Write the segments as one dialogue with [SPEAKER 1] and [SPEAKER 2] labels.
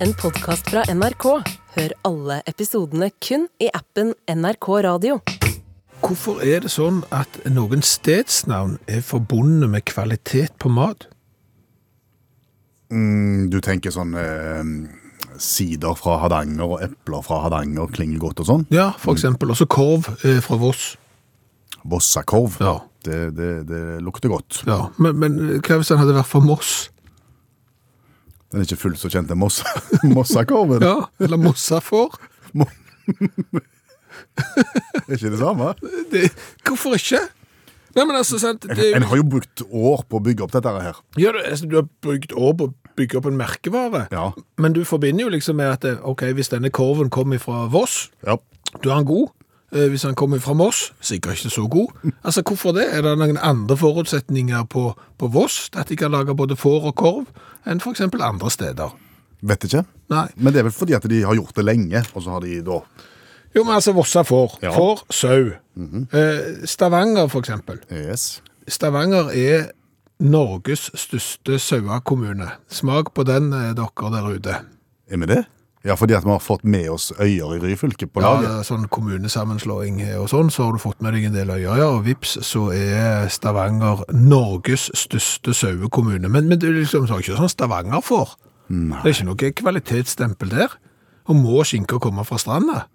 [SPEAKER 1] en podkast fra NRK. Hør alle episodene kun i appen NRK Radio.
[SPEAKER 2] Hvorfor er det sånn at noen stedsnavn er forbundet med kvalitet på mat?
[SPEAKER 3] Mm, Du tenker sånn eh, sider fra Hardanger og epler fra Hardanger klinger godt og sånn.
[SPEAKER 2] Ja, for eksempel. Også korv eh, fra Voss.
[SPEAKER 3] Vossakorv.
[SPEAKER 2] Ja.
[SPEAKER 3] Det, det, det lukter godt.
[SPEAKER 2] Ja, men, men hva hvis den hadde vært fra Moss?
[SPEAKER 3] Den er ikke fullt så kjent, den moss, mossakorven.
[SPEAKER 2] Ja, eller Mossafår?
[SPEAKER 3] Er ikke det samme?
[SPEAKER 2] Det, hvorfor ikke? Nei, men altså, sant det,
[SPEAKER 3] En har jo brukt år på å bygge opp dette her.
[SPEAKER 2] ja, du, altså, Du har brukt år på å bygge opp en merkevare,
[SPEAKER 3] Ja.
[SPEAKER 2] men du forbinder jo liksom med at eh, ok, hvis denne korven kommer fra Voss,
[SPEAKER 3] Ja.
[SPEAKER 2] du er han god. Eh, Hvis han kommer fra Moss, sikkert ikke så god. Altså, Hvorfor det? Er det noen andre forutsetninger på, på Voss, at de kan lage både får og korv, enn f.eks. andre steder?
[SPEAKER 3] Vet ikke.
[SPEAKER 2] Nei.
[SPEAKER 3] Men det er vel fordi at de har gjort det lenge, og så har de da
[SPEAKER 2] Jo, men altså Vossa får.
[SPEAKER 3] Ja.
[SPEAKER 2] Får, sau. Eh, Stavanger, f.eks.
[SPEAKER 3] Yes.
[SPEAKER 2] Stavanger er Norges største sauekommune. Smak på den, eh, dere der ute.
[SPEAKER 3] Er vi det? Ja, fordi at vi har fått med oss øyer i Ryfylke på
[SPEAKER 2] Ja,
[SPEAKER 3] laget.
[SPEAKER 2] sånn kommunesammenslåing og sånn, så har du fått med deg en del øyer, ja, og vips, så er Stavanger Norges største sauekommune. Men, men det er liksom så er det ikke sånn Stavanger får. Det er ikke noe kvalitetsstempel der. Og må skinka komme fra stranda?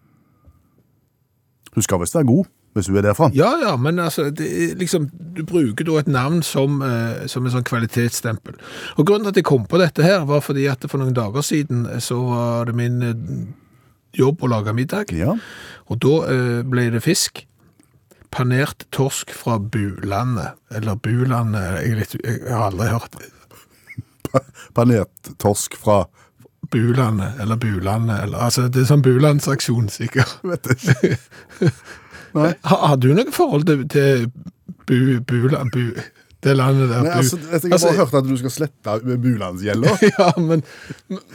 [SPEAKER 3] Hun skal visst være god, hvis hun er derfra.
[SPEAKER 2] Ja, ja, men altså, det er liksom, du bruker da et navn som, eh, som en sånn kvalitetsstempel. Og grunnen til at jeg kom på dette her, var fordi at for noen dager siden eh, så var det min eh, jobb å lage middag.
[SPEAKER 3] Ja.
[SPEAKER 2] Og da eh, ble det fisk. Panert torsk fra Bulandet. Eller Bulandet jeg, vet- jeg har aldri hørt
[SPEAKER 3] Panert torsk fra
[SPEAKER 2] Bulandet eller Bulandet eller Altså, det er sånn Bulandsaksjon, sikkert.
[SPEAKER 3] Vet ikke. Nei.
[SPEAKER 2] Har, har du noe forhold til, til bu, Buland bu, Det landet der
[SPEAKER 3] Nei, altså, jeg har bare
[SPEAKER 2] Altså,
[SPEAKER 3] hørt at du skal slette bulandsgjelda.
[SPEAKER 2] Ja, men,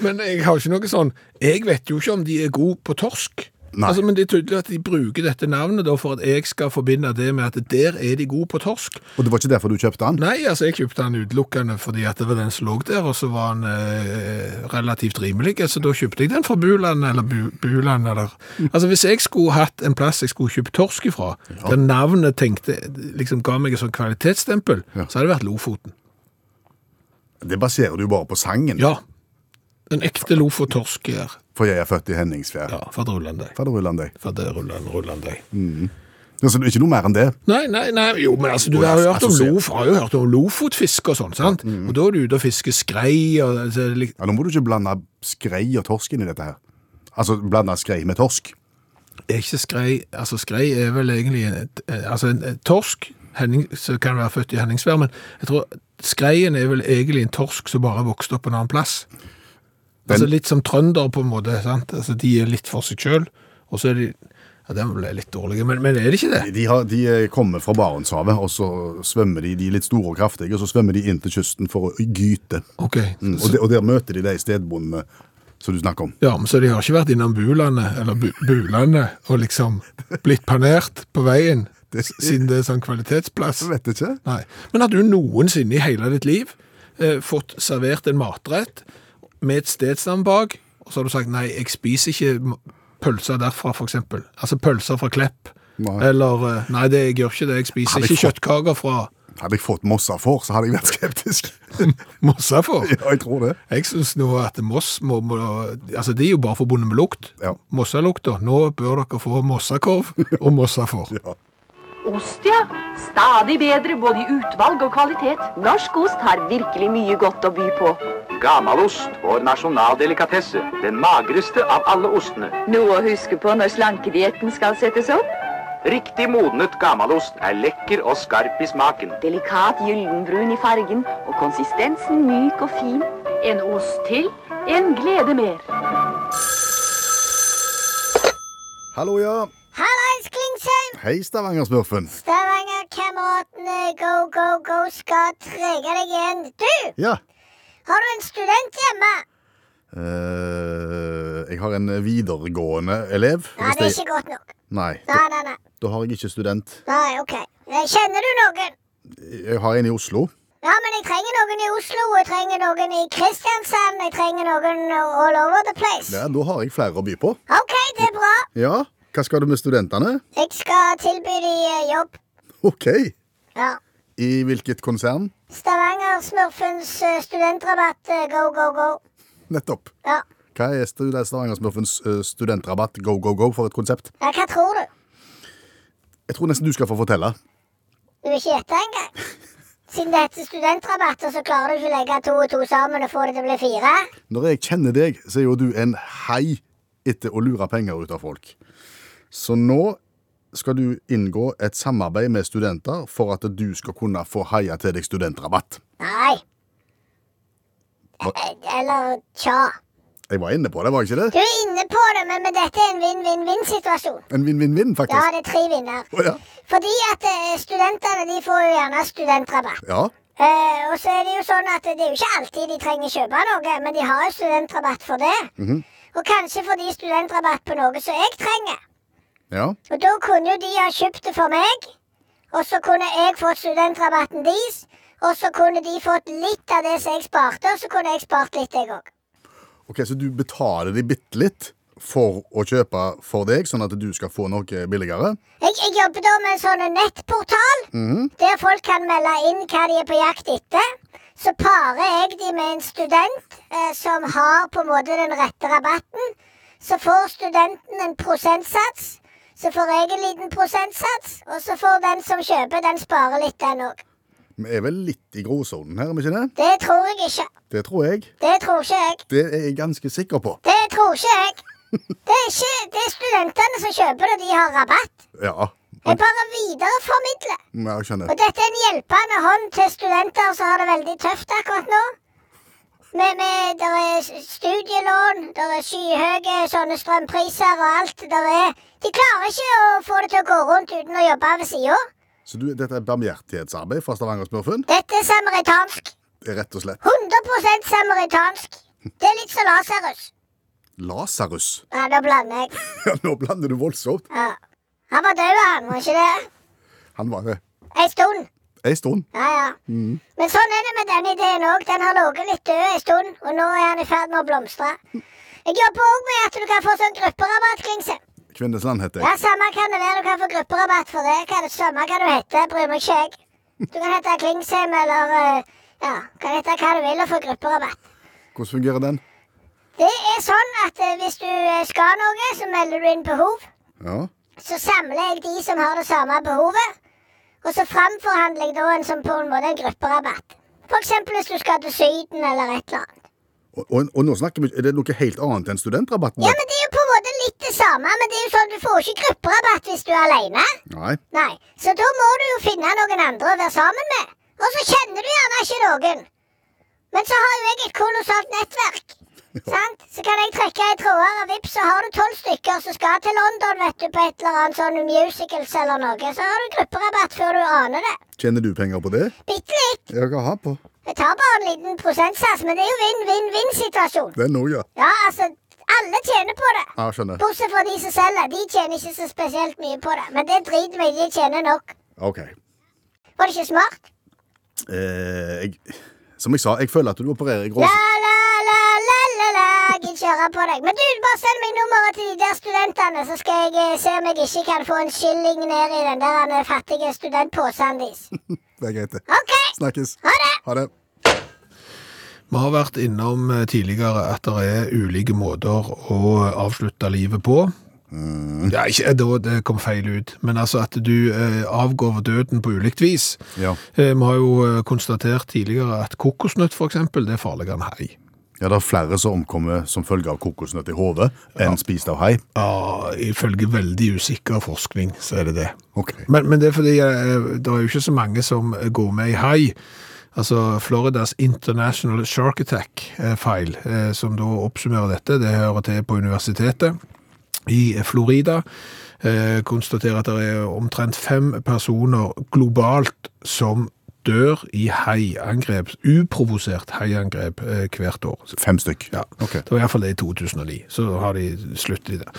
[SPEAKER 2] men jeg har ikke noe sånn Jeg vet jo ikke om de er gode på torsk.
[SPEAKER 3] Nei.
[SPEAKER 2] Altså, men det er tydelig at de bruker dette navnet da, for at jeg skal forbinde det med at der er de gode på torsk.
[SPEAKER 3] Og det var ikke derfor du kjøpte den?
[SPEAKER 2] Nei, altså jeg kjøpte den utelukkende fordi at det var den som lå der, og så var den eh, relativt rimelig, så da kjøpte jeg den fra Buland, eller Bu Buland, eller... Altså hvis jeg skulle hatt en plass jeg skulle kjøpt torsk ifra, der navnet tenkte, liksom ga meg et sånt kvalitetsstempel,
[SPEAKER 3] Ja.
[SPEAKER 2] så hadde det vært Lofoten.
[SPEAKER 3] Det baserer du bare på sangen.
[SPEAKER 2] Ja, en ekte Lofottorsk her,
[SPEAKER 3] For jeg er født i Henningsfjær.
[SPEAKER 2] ja, for det ruller deg.
[SPEAKER 3] Faderullan deg.
[SPEAKER 2] For det ruller den, ruller den deg.
[SPEAKER 3] Altså, det er ikke noe mer enn det.
[SPEAKER 2] Nei, nei, nei, jo, men altså, du
[SPEAKER 3] Og
[SPEAKER 2] har jo hørt om,
[SPEAKER 3] assosiert.
[SPEAKER 2] lof, har jo hørt om lofotfisk og sånn, sant? Og da er du ute og fisker skrei, og altså, lik-
[SPEAKER 3] Ja, nå må du ikke blande skrei og torsk inn i dette her. Altså, blande skrei med torsk.
[SPEAKER 2] er ikke skrei Altså, skrei er vel egentlig en, eh, altså en eh, torsk Henning, som kan være født i Henningsvær, men jeg tror skreien er vel egentlig en torsk som bare vokste opp en annen plass. altså Litt som trønder, på en måte. sant? Altså De er litt for seg sjøl, og så er de Ja, den ble litt dårlig, men, men er det ikke det?
[SPEAKER 3] De, har, de eh, kommer fra Barentshavet, og så svømmer de, de er litt store og kraftige, og så svømmer de inn til kysten for å gyte.
[SPEAKER 2] OK.
[SPEAKER 3] Mm, og, de, og der møter de de stedbondene som du snakker om.
[SPEAKER 2] Ja, men Så de har ikke vært innom Bulandet eller bu Bulandet og liksom blitt panert på veien, s- siden det er sånn kvalitetsplass?
[SPEAKER 3] vet ikke.
[SPEAKER 2] Nei. Men har du noensinne i hele ditt liv eh, fått servert en matrett med et stedsnavn bak, og så har du sagt nei, jeg spiser ikke m- pølser derfra, for eksempel. Altså pølser fra Klepp.
[SPEAKER 3] Nei.
[SPEAKER 2] Eller eh, nei, det, jeg gjør ikke det, jeg spiser
[SPEAKER 3] Hadde jeg
[SPEAKER 2] ikke kjøttkaker fra
[SPEAKER 3] Hadde jeg fått Mossa for, så hadde jeg vært skeptisk.
[SPEAKER 2] Mossafor.
[SPEAKER 3] ja, jeg tror det.
[SPEAKER 2] Jeg syns nå at Moss må, må Altså, de er jo bare forbundet med lukt.
[SPEAKER 3] Ja.
[SPEAKER 2] Mossalukta. Nå bør dere få mossakorv og mossafor.
[SPEAKER 4] Ost, ja. Stadig bedre både i utvalg og kvalitet. Norsk ost har virkelig mye godt å by på.
[SPEAKER 5] Gamalost, vår nasjonaldelikatesse. Den magreste av alle ostene.
[SPEAKER 4] Noe å huske på når slankedietten skal settes opp.
[SPEAKER 5] Riktig modnet gamalost er lekker og skarp i smaken.
[SPEAKER 4] Delikat gyllenbrun i fargen og konsistensen myk og fin. En ost til, en glede mer.
[SPEAKER 3] Hallo, ja.
[SPEAKER 6] Hallais, Klingsheim!
[SPEAKER 3] Hei, Stavanger-smurfen.
[SPEAKER 6] Stavanger-kameratene go, go, go skal trege deg igjen. Du,
[SPEAKER 3] Ja.
[SPEAKER 6] har du en student hjemme?
[SPEAKER 3] Eh, jeg har en videregående elev.
[SPEAKER 6] Nei,
[SPEAKER 3] Hvis
[SPEAKER 6] det er
[SPEAKER 3] jeg-
[SPEAKER 6] ikke godt nok.
[SPEAKER 3] Nei, da,
[SPEAKER 6] Nei, nei, nei.
[SPEAKER 3] da har jeg ikke student.
[SPEAKER 6] Nei, ok. Kjenner du noen?
[SPEAKER 3] Jeg har en i Oslo.
[SPEAKER 6] Ja, men jeg trenger noen i Oslo, og jeg trenger noen i Kristiansand, jeg trenger noen all over the place.
[SPEAKER 3] Ja, da har jeg flere å by på.
[SPEAKER 6] OK, det er bra.
[SPEAKER 3] Ja, hva skal du med studentene?
[SPEAKER 6] Jeg skal tilby de eh, jobb.
[SPEAKER 3] OK.
[SPEAKER 6] Ja.
[SPEAKER 3] I hvilket konsern?
[SPEAKER 6] Stavanger-smurfens eh, studentrabatt, eh, go, go, go.
[SPEAKER 3] Nettopp.
[SPEAKER 6] Ja.
[SPEAKER 3] Hva er stu- det er Stavanger-smurfens eh, studentrabatt go, go, go for et konsept?
[SPEAKER 6] ja, hva tror du?
[SPEAKER 3] Jeg tror nesten du skal få fortelle.
[SPEAKER 6] Du vil ikke gjette engang? Siden det heter studentrabatt, og så klarer du ikke å legge to og to sammen og få det til å bli fire?
[SPEAKER 3] Når jeg kjenner deg, så er jo du en hei etter å lure penger ut av folk. Så nå skal du inngå et samarbeid med studenter for at du skal kunne få heia til deg studentrabatt.
[SPEAKER 6] Nei.
[SPEAKER 3] Hva?
[SPEAKER 6] Eh, Eller tja.
[SPEAKER 3] Jeg var inne på det, var jeg ikke
[SPEAKER 6] Du
[SPEAKER 3] det?
[SPEAKER 6] er inne på det, men men dette er en vinn-vinn-vinn-situasjon.
[SPEAKER 3] En vinn-vinn-vinn,
[SPEAKER 6] Ja,
[SPEAKER 3] faktisk.
[SPEAKER 6] det er tre vinner.
[SPEAKER 3] Å, ja.
[SPEAKER 6] Fordi at eh, studentene de får jo gjerne studentrabatt.
[SPEAKER 3] ja.
[SPEAKER 6] Eh, og så er det jo sånn at det er jo ikke alltid de trenger kjøpe noe, men de har jo studentrabatt for det. Og kanskje får de studentrabatt på noe som jeg trenger.
[SPEAKER 3] Ja.
[SPEAKER 6] Og da kunne jo de ha kjøpt det for meg, og så kunne jeg fått studentrabatten deres. Og så kunne de fått litt av det som jeg sparte, og så kunne jeg spart litt, jeg òg.
[SPEAKER 3] Ok, Så du betaler de bitte litt for å kjøpe for deg, sånn at du skal få noe billigere?
[SPEAKER 6] Jeg, jeg jobber da med en sånn nettportal, der folk kan melde inn hva de er på jakt etter. Så parer jeg de med en student eh, som har på en måte den rette rabatten. Så får studenten en prosentsats, så får jeg en liten prosentsats, og så får den som kjøper, den sparer litt, den òg.
[SPEAKER 3] Vi er vel litt i gråsonen her, er vi ikke det?
[SPEAKER 6] Det tror jeg ikke.
[SPEAKER 3] Det tror jeg.
[SPEAKER 6] Det tror ikke jeg.
[SPEAKER 3] Det er jeg ganske sikker på.
[SPEAKER 6] Det tror ikke jeg. Det er, ikke, det er studentene som kjøper det, de har rabatt.
[SPEAKER 3] Ja.
[SPEAKER 6] Jeg bare videreformidler.
[SPEAKER 3] Ja, Jeg skjønner.
[SPEAKER 6] Og dette er en hjelpende hånd til studenter som har det veldig tøft akkurat nå. Med, med, der er s- studielån, der er skyhøye sånne strømpriser og alt. Der er, de klarer ikke å få det til å gå rundt uten å jobbe ved sida.
[SPEAKER 3] Så du, dette er barmhjertighetsarbeid fra Stavanger-smurfen?
[SPEAKER 6] Dette er samaritansk.
[SPEAKER 3] Rett og slett.
[SPEAKER 6] 100 samaritansk. Det er litt som Lasarus.
[SPEAKER 3] Lasarus.
[SPEAKER 6] Nei, nå blander jeg.
[SPEAKER 3] Ja, nå blander du voldsomt.
[SPEAKER 6] Ja. Han var død, han, var ikke det?
[SPEAKER 3] Han var det
[SPEAKER 6] Ei stund.
[SPEAKER 3] ei stund.
[SPEAKER 6] Ja, ja. Men sånn er det med den ideen òg. Den har ligget litt død en stund, og nå er den i ferd med å blomstre. Jeg jobber òg med at du kan få sånn grupperabatt, Klingse.
[SPEAKER 3] Kvinnesland heter
[SPEAKER 6] Ja,
[SPEAKER 3] jeg.
[SPEAKER 6] Samme kan det være, du kan få grupperabatt for det. Hva er det samme kan du hete, bryr meg ikke jeg. Du kan hete Klingsheim eller eh, ja, kan hete hva du vil og få grupperabatt.
[SPEAKER 3] Hvordan fungerer den?
[SPEAKER 6] Det er sånn at eh, hvis du eh, skal noe, så melder du inn behov.
[SPEAKER 3] Ja.
[SPEAKER 6] Så samler jeg de som har det samme behovet, og så framforhandler jeg da en sånn på en måte en grupperabatt. For eksempel hvis du skal til Syden eller et eller annet.
[SPEAKER 3] Og, og, og nå snakker vi Er det noe helt annet enn studentrabatten?
[SPEAKER 6] Ja, men det er jo på en måte litt det samme, men det er jo sånn du får ikke grupperabatt hvis du er alene.
[SPEAKER 3] Nei.
[SPEAKER 6] Nei, så da må du jo finne noen andre å være sammen med. Og så kjenner du gjerne ikke noen. Men så har jo jeg et kolossalt nettverk. Sant? Så kan jeg trekke i tråder, og vips, så har du tolv stykker som skal til London, vet du, på et eller annet sånn musicals eller noe. Så har du grupperabatt før du aner det.
[SPEAKER 3] Tjener du penger på det?
[SPEAKER 6] Bitte litt.
[SPEAKER 3] Ja, hva har på?
[SPEAKER 6] Jeg tar bare en liten prosentsats, men det er jo vinn-vinn-vinn-situasjon.
[SPEAKER 3] Den òg, ja.
[SPEAKER 6] Ja, altså, alle tjener på det.
[SPEAKER 3] Ja, skjønner.
[SPEAKER 6] Bortsett fra de som selger. De tjener ikke så spesielt mye på det. Men det driter meg i, de tjener nok.
[SPEAKER 3] OK.
[SPEAKER 6] Var det ikke smart?
[SPEAKER 3] Eh, jeg, som jeg sa, jeg føler at du opererer i
[SPEAKER 6] La,
[SPEAKER 3] gråsonen.
[SPEAKER 6] la, la, la, la, la. Jeg gidder ikke høre på deg. Men du, bare send meg nummeret til de der studentene, så skal jeg eh, se om jeg ikke kan få en skilling ned i den der eh, fattige studentposen deres.
[SPEAKER 3] Det er greit, det.
[SPEAKER 6] OK,
[SPEAKER 3] Snakkes.
[SPEAKER 6] ha det!
[SPEAKER 3] Ha det.
[SPEAKER 2] Vi har vært innom eh, tidligere at det er ulike måter å eh, avslutte livet på. Ja, ikke da det kom feil ut, men altså at du eh, avgår ved døden på ulikt vis.
[SPEAKER 3] Ja.
[SPEAKER 2] Eh, vi har jo eh, konstatert tidligere at kokosnøtt for eksempel, det er farligere enn hei.
[SPEAKER 3] Ja, det er flere som omkommer som følge av kokosnøtt i hodet enn spist av hai.
[SPEAKER 2] Ja, Ah, ifølge veldig usikker forskning, så er det det.
[SPEAKER 3] Ok.
[SPEAKER 2] Men, men det er fordi eh, det er jo ikke så mange som går med i hai. Altså Floridas International Shark Attack-feil, eh, som da oppsummerer dette, det hører til på universitetet i Florida. Eh, konstaterer at det er omtrent fem personer globalt som dør i haiangrep, uprovosert haiangrep eh, hvert år.
[SPEAKER 3] Fem stykk.
[SPEAKER 2] Ja,
[SPEAKER 3] Ok.
[SPEAKER 2] det var iallfall det i 2009. Så har de sluttet i det.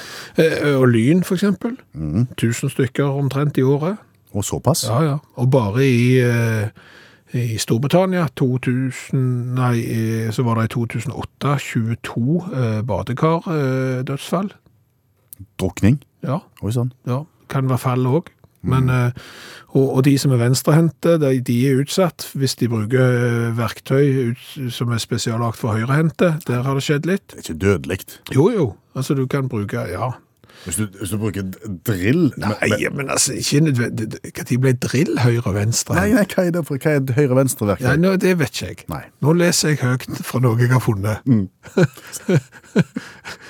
[SPEAKER 2] Eh, Og Lyn, for eksempel. 1000 stykker omtrent i året.
[SPEAKER 3] Og såpass?
[SPEAKER 2] Ja, ja. Og bare i, eh, i Storbritannia. 2000, nei, eh, så var det i 2008 22 eh, badekardødsfall.
[SPEAKER 3] Drukning.
[SPEAKER 2] Ja,
[SPEAKER 3] Oi sånn. sann.
[SPEAKER 2] ja. Kan være fall òg. Men, eh, og, og de som er venstrehendte, de, de er utsatt hvis de bruker eh, verktøy ut, som er spesiallagt for høyrehendte. Der har det skjedd litt.
[SPEAKER 3] Det er ikke dødelig.
[SPEAKER 2] Jo, jo. Altså, du kan bruke Ja.
[SPEAKER 3] Hvis, du- hvis du bruker d- drill
[SPEAKER 2] Nei, men altså, ikke nødvendig. Når ble drill høyre og venstre?
[SPEAKER 3] Nei, nei, hva er det for Hva er det høyre-venstre-verktøy?
[SPEAKER 2] Nei, nå, det vet ikke jeg.
[SPEAKER 3] Nei.
[SPEAKER 2] Nå leser jeg høyt fra noe jeg har funnet.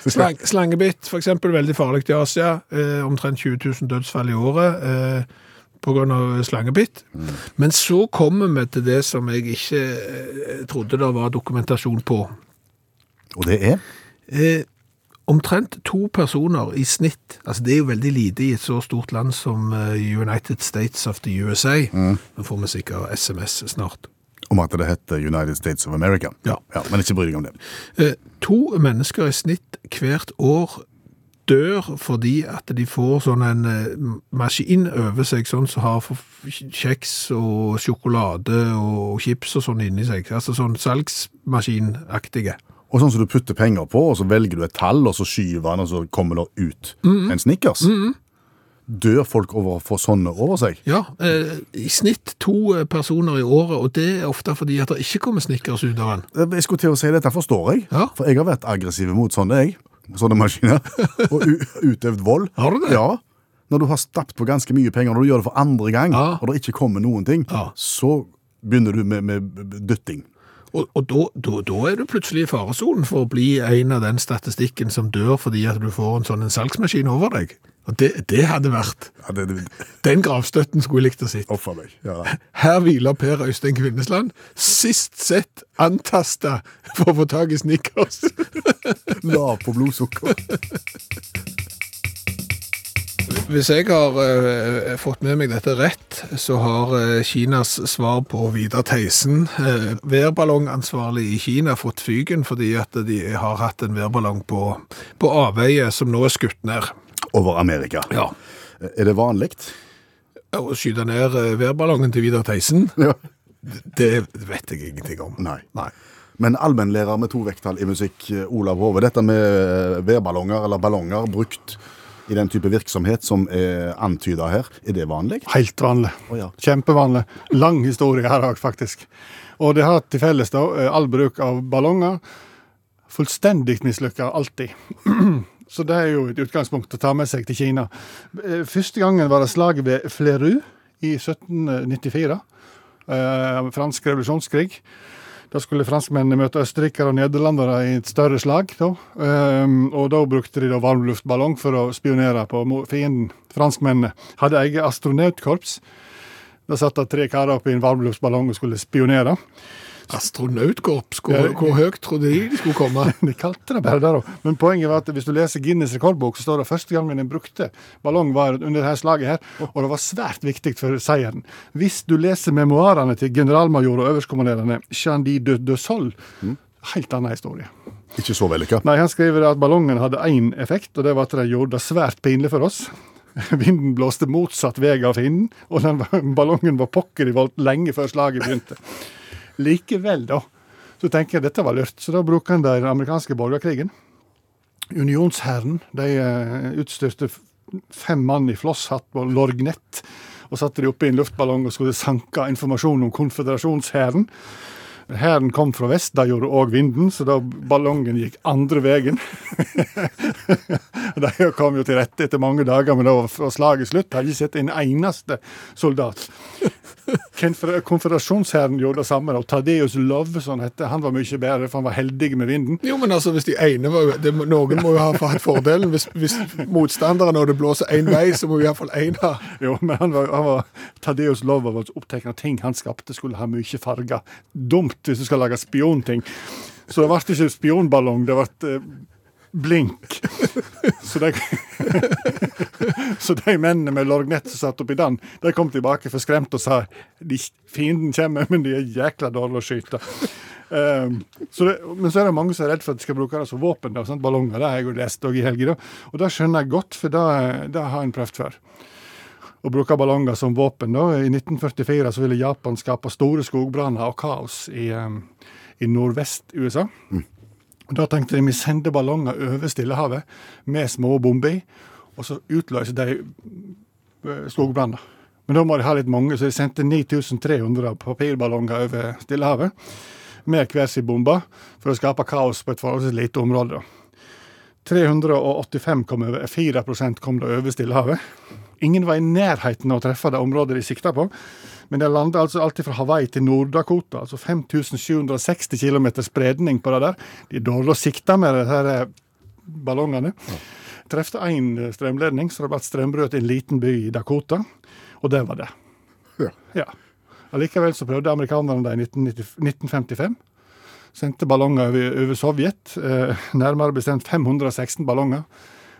[SPEAKER 2] Slang, slangebitt, for eksempel, veldig farlig i Asia. Eh, omtrent 20 000 dødsfall i året eh, på grunn av slangebitt. Men så kommer vi til det som jeg ikke eh, trodde det var dokumentasjon på.
[SPEAKER 3] Og det er
[SPEAKER 2] Eh, omtrent to personer i snitt, altså det er jo veldig lite i et så stort land som eh, United States of the USA. Nå får vi sikkert SMS snart.
[SPEAKER 3] om at det heter United States of America.
[SPEAKER 2] Ja.
[SPEAKER 3] men ikke bry deg om det.
[SPEAKER 2] Eh, To mennesker i snitt hvert år dør fordi at de får sånn en eh, maskin over seg, sånn som har for- kjeks og sjokolade og chips og sånn inni seg. Altså sånn salgsmaskinaktige.
[SPEAKER 3] Og sånn som du putter penger på, og så velger du et tall, og så skyver han, og så kommer det ut
[SPEAKER 2] Mm-hmm.
[SPEAKER 3] en Snickers. Dør folk over å få sånne over seg?
[SPEAKER 2] Ja, eh, i snitt to eh, personer i året, og det er ofte fordi at det ikke kommer snickers ut av den.
[SPEAKER 3] Jeg skulle til å si dette, forstår jeg.
[SPEAKER 2] Ja.
[SPEAKER 3] For jeg har vært aggressiv mot sånne, jeg. Sånne maskiner. Og u- utøvd vold.
[SPEAKER 2] Har du det?
[SPEAKER 3] Ja. Når du har stappet på ganske mye penger, når du gjør det for andre gang,
[SPEAKER 2] Ja.
[SPEAKER 3] og det ikke kommer noen ting,
[SPEAKER 2] Ja.
[SPEAKER 3] så begynner du med, med dytting.
[SPEAKER 2] Og, og da, da, da er du plutselig i faresonen for å bli en av den statistikken som dør fordi at du får en sånn en salgsmaskin over deg. Og det, det hadde vært.
[SPEAKER 3] Ja, det, det,
[SPEAKER 2] Den gravstøtten skulle jeg likt å sitte.
[SPEAKER 3] offer meg. Ja.
[SPEAKER 2] Her hviler Per Øystein Kvinnesland, sist sett antasta for å få tak i snickers.
[SPEAKER 3] La på blodsukker.
[SPEAKER 2] Hvis jeg har eh, fått med meg dette rett, så har eh, Kinas svar på Vidar Theisen, eh, værballongansvarlig i Kina, fått fyken fordi at de har hatt en værballong på, på avveie som nå er skutt ned.
[SPEAKER 3] Over Amerika.
[SPEAKER 2] Ja.
[SPEAKER 3] Er det vanlig?
[SPEAKER 2] Å skyte ned eh, værballongen til Vidar Theisen,
[SPEAKER 3] Ja.
[SPEAKER 2] det vet jeg ingenting om.
[SPEAKER 3] Nei.
[SPEAKER 2] Nei.
[SPEAKER 3] Men allmennlærer med to vekttall i musikk, eh, Olav Hove, dette med eh, vedballonger eller ballonger brukt i den type virksomhet som er antyda her, er det vanlig?
[SPEAKER 7] Helt vanlig.
[SPEAKER 3] Å ja.
[SPEAKER 7] Kjempevanlig. Lang historie her òg, faktisk. Og det har til felles da, eh, all bruk av ballonger. Fullstendig mislykka, alltid. Så det er jo et utgangspunkt å ta med seg til Kina. Eh, Første gangen var det slaget ved Fleru i 1794. Eh, fransk revolusjonskrig. Da skulle franskmennene møte østerrikere og nederlandere i et større slag. Da. Ehm, og da brukte de da varmluftballong for å spionere på mo- fienden. Franskmennene hadde eget astronautkorps. Da satt det tre karer opp i en varmluftballong og skulle spionere.
[SPEAKER 2] Astronautkorps, hvor, hvor høyt trodde de de skulle komme?
[SPEAKER 7] De kalte det bare det, da. Men poenget var at hvis du leser Guinness rekordbok, så står det første gangen en brukte ballong var under dette slaget her, og det var svært viktig for seieren. Hvis du leser memoarene til generalmajor og øverstkommanderende Chandi de, de Sol, helt annen historie.
[SPEAKER 3] Ikke så vellykka.
[SPEAKER 7] Nei, Han skriver at ballongen hadde én effekt, og det var at det gjorde det svært pinlig for oss. Vinden blåste motsatt vei av fienden, og den var, ballongen var pokker i volt lenge før slaget begynte. Likevel, da, så tenker jeg dette var lurt, så da bruker han det i den amerikanske borgerkrigen. Unionshæren de eh, utstyrte f- fem mann i flosshatt og lorgnett, og satte de oppe i en luftballong og skulle sanke informasjon om konføderasjonshæren. Hæren kom fra vest, det gjorde òg vinden, så da ballongen gikk andre veien. De kom jo til rette etter mange dager, men da var slaget slutt. Hadde ikke sett en eneste soldat. Konfer- Konføderasjonshæren gjorde det samme. da. Tadeus Love, som han heter, han var mye bedre, for han var heldig med vinden.
[SPEAKER 2] Jo, men altså, hvis de ene var, det, må- Noen må jo ha hatt fordelen. Hvis, hvis motstanderen, når det blåser én vei, så må iallfall én ha
[SPEAKER 7] Jo, men han var, han var Tadeus Lova var så opptatt av ting han skapte, skulle ha mye farger. Dumt hvis du skal lage spionting. Så det ble ikke spionballong, det ble eh, blink. Så de, så de mennene med lorgnett som satt oppi den, de kom tilbake forskremt og sa de, fienden kommer, men de er jækla dårlige å skyte. Ehm, så det, men så er det mange som er redd for at de skal bruke det som våpen. Da, sant? Ballonger, det har jeg jo lest også i helga. da. Og det skjønner jeg godt, for det, det har en prøvd før. og bruke ballonger som våpen. Da. I 1944 så ville Japan skape store skogbranner og kaos i, eh, i nordvest-USA. Og Da tenkte de vi sender ballonger over Stillehavet med små bomber i, og så utløser de eh, skogbranner. Men da må de ha litt mange, så de sendte 9300 papirballonger over Stillehavet med hver sin bombe for å skape kaos på et forholdsvis lite område. da. 385 kom over, 4 kom da over Stillehavet. Ingen var i nærheten av å treffe det området de sikta på, men de landa altså alltid fra Hawaii til Nord-Dakota, altså 5760 km spredning på det der. De er dårlig å sikte med de her eh, ballongene. Trefte én strømledning, så det ble et strømbrudd til en liten by i Dakota, og det var det.
[SPEAKER 3] Ja.
[SPEAKER 7] Ja. Allikevel så prøvde amerikanerne det i 1990 1955. Sendte ballonger over, over Sovjet, eh, nærmere bestemt 516 ballonger,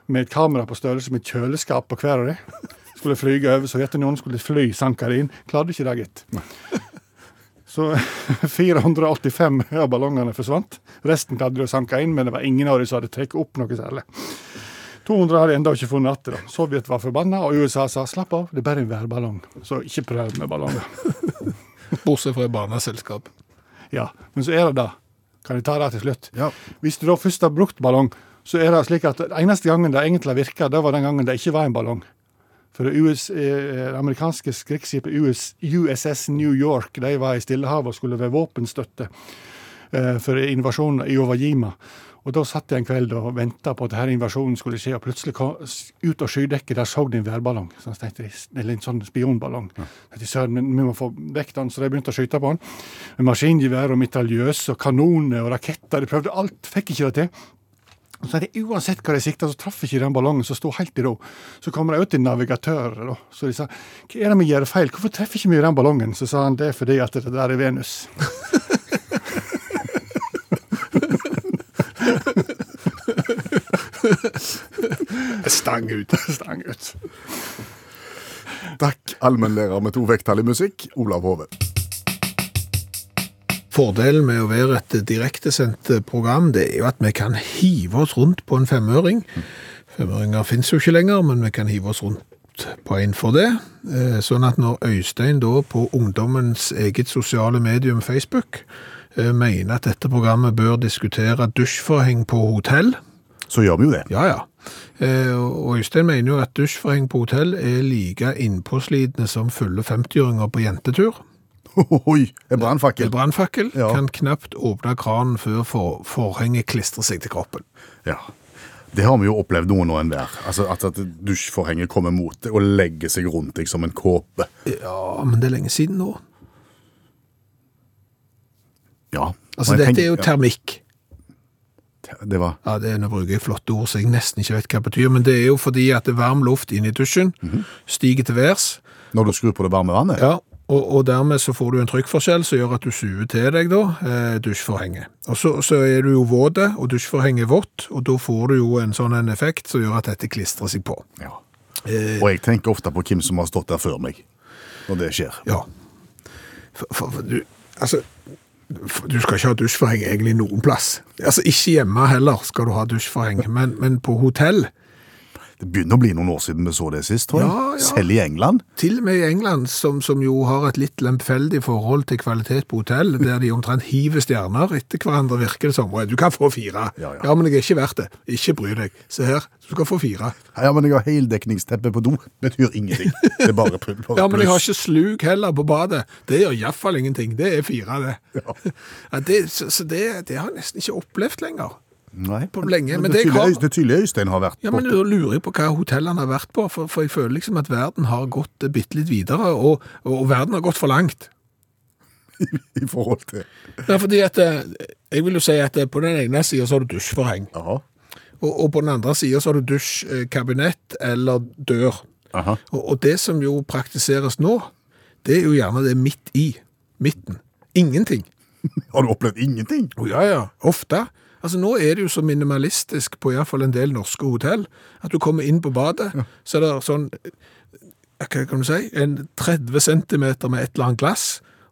[SPEAKER 7] med et kamera på størrelse med et kjøleskap på hver av dem. Skulle flyge over Sovjetunionen, skulle fly Sankarin. Klarte ikke det, gitt. Så 485 av ballongene forsvant. Resten klarte de å sanke inn, men det var ingen av dem som hadde tatt opp noe særlig. 200 har de ennå ikke funnet igjen. da. Sovjet var forbanna, og USA sa slapp av, det er bare en værballong. Så ikke prøv med ballonger.
[SPEAKER 2] Bortsett fra i barneselskap.
[SPEAKER 7] Ja, Men så er det det. Kan jeg ta det til slutt?
[SPEAKER 3] Ja.
[SPEAKER 7] Hvis du da først har brukt ballong, så er det slik at den eneste gangen det egentlig virka, det var den gangen det ikke var en ballong. For det, US, eh, det amerikanske krigsskipet US, USS New York de var i Stillehavet og skulle være våpenstøtte eh, for invasjonen i Ovajima. Og Da satt jeg en kveld og venta på at denne invasjonen skulle skje, og plutselig kom, s- ut av skydekket der så de en værballong. Så jeg tenkte, eller en sånn spionballong. Jeg tenkte, Søren, men vi må få vekk den, så de begynte å skyte på den. Med maskingevær og mitraljøs og kanoner og raketter. De prøvde alt, fikk ikke det til. Og så er det Uansett hva de sikta, så traff ikke den ballongen som sto helt i ro. Så kommer de ut til navigatører, da. Så de sa hva er det vi gjør feil, hvorfor treffer ikke vi den ballongen? Så sa han det er fordi at det der er Venus.
[SPEAKER 3] Stang ut.
[SPEAKER 7] Stang ut.
[SPEAKER 3] Takk, allmennlærer med to vekttall i musikk, Olav Hove.
[SPEAKER 2] Fordelen med å være et direktesendt program, det er jo at vi kan hive oss rundt på en femøring. Femøringer finnes jo ikke lenger, men vi kan hive oss rundt på en for det. Eh, Sånn at når Øystein da på ungdommens eget sosiale medium Facebook eh, mener at dette programmet bør diskutere dusjforheng på hotell,
[SPEAKER 3] Så gjør vi jo det.
[SPEAKER 2] ja, ja. Eh, og Øystein mener jo at dusjforheng på hotell er like innpåslitende som fulle 50-åringer på jentetur.
[SPEAKER 3] Oi, en
[SPEAKER 2] Med
[SPEAKER 3] brannfakkel.
[SPEAKER 2] brannfakkel
[SPEAKER 3] Ja.
[SPEAKER 2] kan knapt åpne kranen før for, forhenget klistrer seg til kroppen.
[SPEAKER 3] Ja. Det har vi jo opplevd noen og enhver. Altså at, at dusjforhenget kommer mot deg og legger seg rundt deg som en kåpe.
[SPEAKER 2] Ja, men det er lenge siden nå.
[SPEAKER 3] Ja.
[SPEAKER 2] Altså,
[SPEAKER 3] Og jeg
[SPEAKER 2] dette
[SPEAKER 3] tenker-
[SPEAKER 2] er jo termikk.
[SPEAKER 3] ja, Det var
[SPEAKER 2] Ja, det er, Nå bruker jeg flotte ord som jeg nesten ikke vet hva betyr, men det er jo fordi at det er varm luft inn i dusjen
[SPEAKER 3] Mhm.
[SPEAKER 2] stiger til værs,
[SPEAKER 3] når du skrur på det varme vannet.
[SPEAKER 2] ja, og, og dermed så får du en trykkforskjell som gjør at du suger til deg da, eh, dusjforhenget. Og så, så er du jo våte, og dusjforhenget er vått, og da får du jo en sånn en effekt som gjør at dette klistrer seg på.
[SPEAKER 3] Ja.
[SPEAKER 2] Eh.
[SPEAKER 3] Og jeg tenker ofte på hvem som har stått der før meg, når det skjer.
[SPEAKER 2] Ja. For, for, for du, altså, for, du skal ikke ha dusjforheng egentlig noen plass. Altså, ikke hjemme heller skal du ha dusjforheng, men, men på hotell.
[SPEAKER 3] Det begynner å bli noen år siden vi så det sist, tror jeg.
[SPEAKER 2] Ja, ja.
[SPEAKER 3] Selv i England.
[SPEAKER 2] Til og med i England, som, som jo har et litt lemfeldig forhold til kvalitet på hotell, der de omtrent hiver stjerner etter hverandre, virker det som. «Å, Du kan få fire.
[SPEAKER 3] Ja, ja.
[SPEAKER 2] men jeg er ikke verdt det. Ikke bry deg. Se her, du skal få fire.
[SPEAKER 3] Ja, men jeg har heldekningsteppe på do. Betyr ingenting. Det er bare pluss.
[SPEAKER 2] Ja, men jeg har ikke sluk heller på badet. Det gjør iallfall ingenting. Det er fire, det. Ja. det så så det, det har jeg nesten ikke opplevd lenger.
[SPEAKER 3] Nei,
[SPEAKER 2] på lenge, men det
[SPEAKER 3] det, er tydelig,
[SPEAKER 2] kan-
[SPEAKER 3] Øystein- det er tydelig Øystein har vært
[SPEAKER 2] Ja, men
[SPEAKER 3] borte.
[SPEAKER 2] Da lurer jeg på hva hotell han har vært på, for, for jeg føler liksom at verden har gått eh, bitte litt videre, og, og verden har gått for langt.
[SPEAKER 3] i forhold til
[SPEAKER 2] Ja, fordi at eh, Jeg vil jo si at eh, på den ene sida så har du dusjforheng,
[SPEAKER 3] Aha.
[SPEAKER 2] og, og på den andre sida så har du dusjkabinett eller dør.
[SPEAKER 3] Aha.
[SPEAKER 2] Og, og det som jo praktiseres nå, det er jo gjerne det midt i. Midten. Ingenting.
[SPEAKER 3] Har du opplevd ingenting?
[SPEAKER 2] Å, ja, ja. Ofte. Altså, nå er det jo så minimalistisk på i hvert fall en del norske hotell, at du kommer inn på badet, så er det sånn, eh, hva kan du si, en 30 centimeter med et eller annet glass,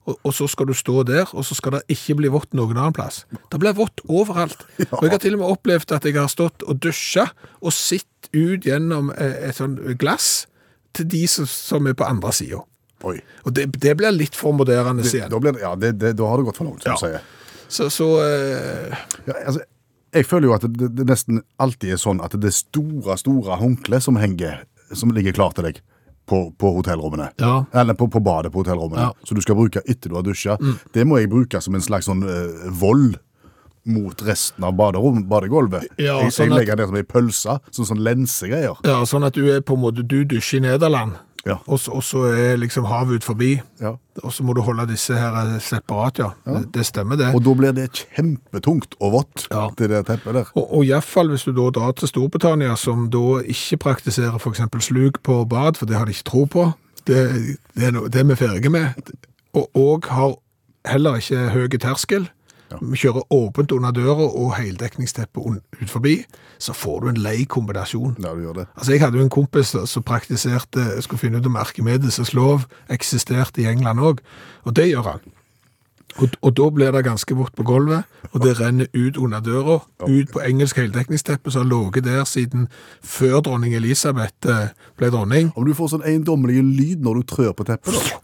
[SPEAKER 2] og, og så skal du stå der, og så skal det ikke bli vått noen annen plass. Det blir vått overalt. Og jeg har til og med opplevd at jeg har stått og dusja, og sitt ut gjennom eh, et sånn glass, til de som, som er på andre sida.
[SPEAKER 3] Oi.
[SPEAKER 2] Og det, det blir litt for moderne
[SPEAKER 3] Det,
[SPEAKER 2] igjen.
[SPEAKER 3] da, blir det, ja, det, det, da har det gått for langt, som
[SPEAKER 2] Ja.
[SPEAKER 3] du sier.
[SPEAKER 2] Så, så eh,
[SPEAKER 3] Ja, altså, jeg føler jo at det, det nesten alltid er sånn at det er store, store håndkle som henger, som ligger klar til deg på, på hotellrommene.
[SPEAKER 2] Ja.
[SPEAKER 3] Eller på, på badet på hotellrommene.
[SPEAKER 2] Ja. Mm.
[SPEAKER 3] Som du skal bruke etter du har dusja. Det må jeg bruke som en slags sånn eh, vold mot resten av baderom, badegulvet.
[SPEAKER 2] Ja,
[SPEAKER 3] jeg,
[SPEAKER 2] sånn
[SPEAKER 3] jeg
[SPEAKER 2] at-
[SPEAKER 3] legger det som ei pølse, sånn sånn lensegreier.
[SPEAKER 2] ja, sånn at du er på en måte Du dusjer i Nederland,
[SPEAKER 3] Ja.
[SPEAKER 2] og, så- og så er liksom havet ut forbi.
[SPEAKER 3] Ja.
[SPEAKER 2] Og så må du holde disse her eh, separat, ja. Det, det stemmer, det.
[SPEAKER 3] Og da blir det kjempetungt og vått,
[SPEAKER 2] Ja.
[SPEAKER 3] det der teppet der.
[SPEAKER 2] Og, og iallfall hvis du da drar til Storbritannia, som da ikke praktiserer f.eks. sluk på bad, for det har de ikke tro på. Det, det, er, no, det er vi ferdige med. Og, og har heller ikke høy terskel. Vi kjører åpent under døra og heldekningsteppe un- ut forbi, så får du en lei kombinasjon.
[SPEAKER 3] Ja, du gjør det.
[SPEAKER 2] Altså, Jeg hadde jo en kompis som- som praktiserte jeg skulle finne ut om Arkimedes' lov eksisterte i England òg, og det gjør han. Og, og da blir det ganske vått på gulvet, og det renner ut under døra, ut på engelsk heldekningsteppe som har ligget der siden før dronning Elisabeth eh, ble dronning.
[SPEAKER 3] Om du får sånn eiendommelig lyd når du trør på teppet, da.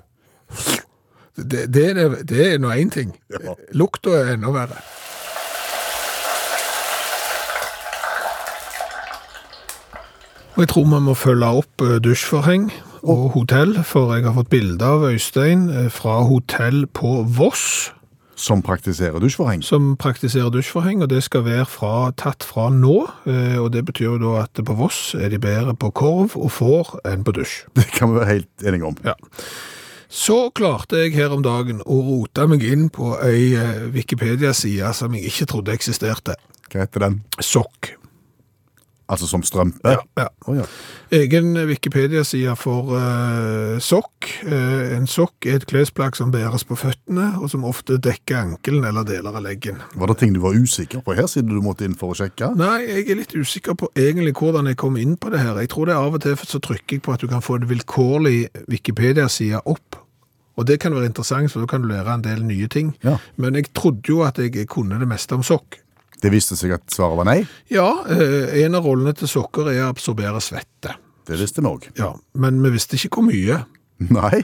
[SPEAKER 2] Det, det, er det- det er nå én ting.
[SPEAKER 3] Ja.
[SPEAKER 2] Lukta er enda verre. Og jeg tror vi må følge opp eh, dusjforheng og hotell, for jeg har fått bilde av Øystein eh, fra hotell på Voss,
[SPEAKER 3] Som praktiserer dusjforheng.
[SPEAKER 2] som praktiserer dusjforheng, og det skal være fra, tatt fra nå. eh, Og det betyr jo da at på Voss er de bedre på korv og får enn på dusj.
[SPEAKER 3] Det kan vi være helt enige om.
[SPEAKER 2] Ja. Så klarte jeg her om dagen å rote meg inn på ei eh, Wikipedia-side som jeg ikke trodde eksisterte.
[SPEAKER 3] Hva heter den?
[SPEAKER 2] Sokk.
[SPEAKER 3] Altså som strømpe?
[SPEAKER 2] Ja.
[SPEAKER 3] Å, ja.
[SPEAKER 2] Egen Wikipedia-side for eh, sokk. Eh, en sokk er et klesplagg som bæres på føttene, og som ofte dekker ankelen eller deler av leggen.
[SPEAKER 3] Var det ting du var usikker på her, siden du måtte inn for å sjekke?
[SPEAKER 2] Nei, jeg er litt usikker på egentlig hvordan jeg kom inn på det her. Jeg tror det er av og til så trykker jeg på at du kan få en vilkårlig Wikipedia-side opp. Og det kan være interessant, for da kan du lære en del nye ting.
[SPEAKER 3] Ja.
[SPEAKER 2] Men jeg trodde jo at jeg kunne det meste om sokk.
[SPEAKER 3] Det viste seg at svaret var nei.
[SPEAKER 2] Ja, eh, en av rollene til sokker er å absorbere svette.
[SPEAKER 3] Det visste vi òg.
[SPEAKER 2] Ja, men vi visste ikke hvor mye.
[SPEAKER 3] Nei.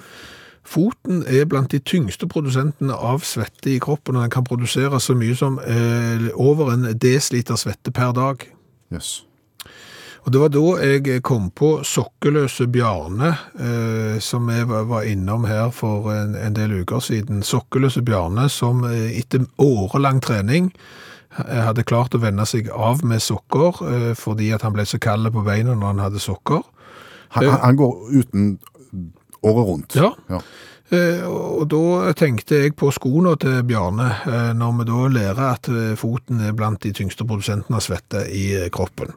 [SPEAKER 2] Foten er blant de tyngste produsentene av svette i kroppen, og den kan produsere så mye som eh, over en desiliter svette per dag.
[SPEAKER 3] Jøss.
[SPEAKER 2] Og det var da jeg kom på Sokkeløse Bjarne, eh, som jeg var var innom her for en, en del uker siden. Sokkeløse Bjarne som eh, etter årelang trening eh, hadde klart å vende seg av med sokker, eh, fordi at han ble så kald på beina når han hadde sokker.
[SPEAKER 3] Han, han- han går uten året rundt.
[SPEAKER 2] Ja.
[SPEAKER 3] Ja.
[SPEAKER 2] Eh, Og da tenkte jeg på skoene til Bjarne, eh, når vi da lærer at eh, foten er blant de tyngste produsentene av svette i eh, kroppen.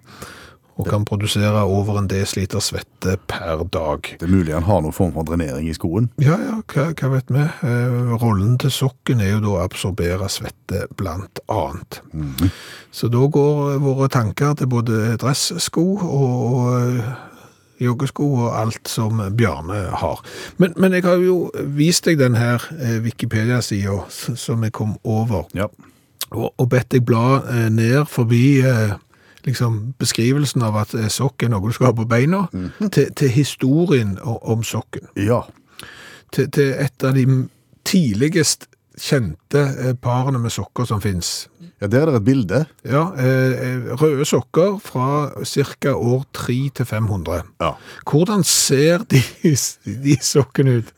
[SPEAKER 2] Og kan produsere over en desiliter svette per dag.
[SPEAKER 3] Det er mulig han har noen form for drenering i skoen.
[SPEAKER 2] Ja, ja, hva, hva vet vi? Eh, rollen til sokken er jo da å absorbere svette, blant annet. Så da går våre tanker til både dresssko og, og eh, joggesko og alt som Bjarne har. Men, men jeg har jo vist deg den her eh, Wikipedia-sida s- som jeg kom over,
[SPEAKER 3] Ja.
[SPEAKER 2] og, og bedt deg bla eh, ned forbi eh, liksom beskrivelsen av at eh, sokk er noe du skal ha på beina, til, til historien o- om sokken
[SPEAKER 3] ja.
[SPEAKER 2] til, til et av de tidligst kjente eh, parene med sokker som finnes.
[SPEAKER 3] Ja, Der er det et bilde.
[SPEAKER 2] Ja, eh, røde sokker fra ca. år 3 til 500.
[SPEAKER 3] Ja.
[SPEAKER 2] Hvordan ser de, de sokkene ut?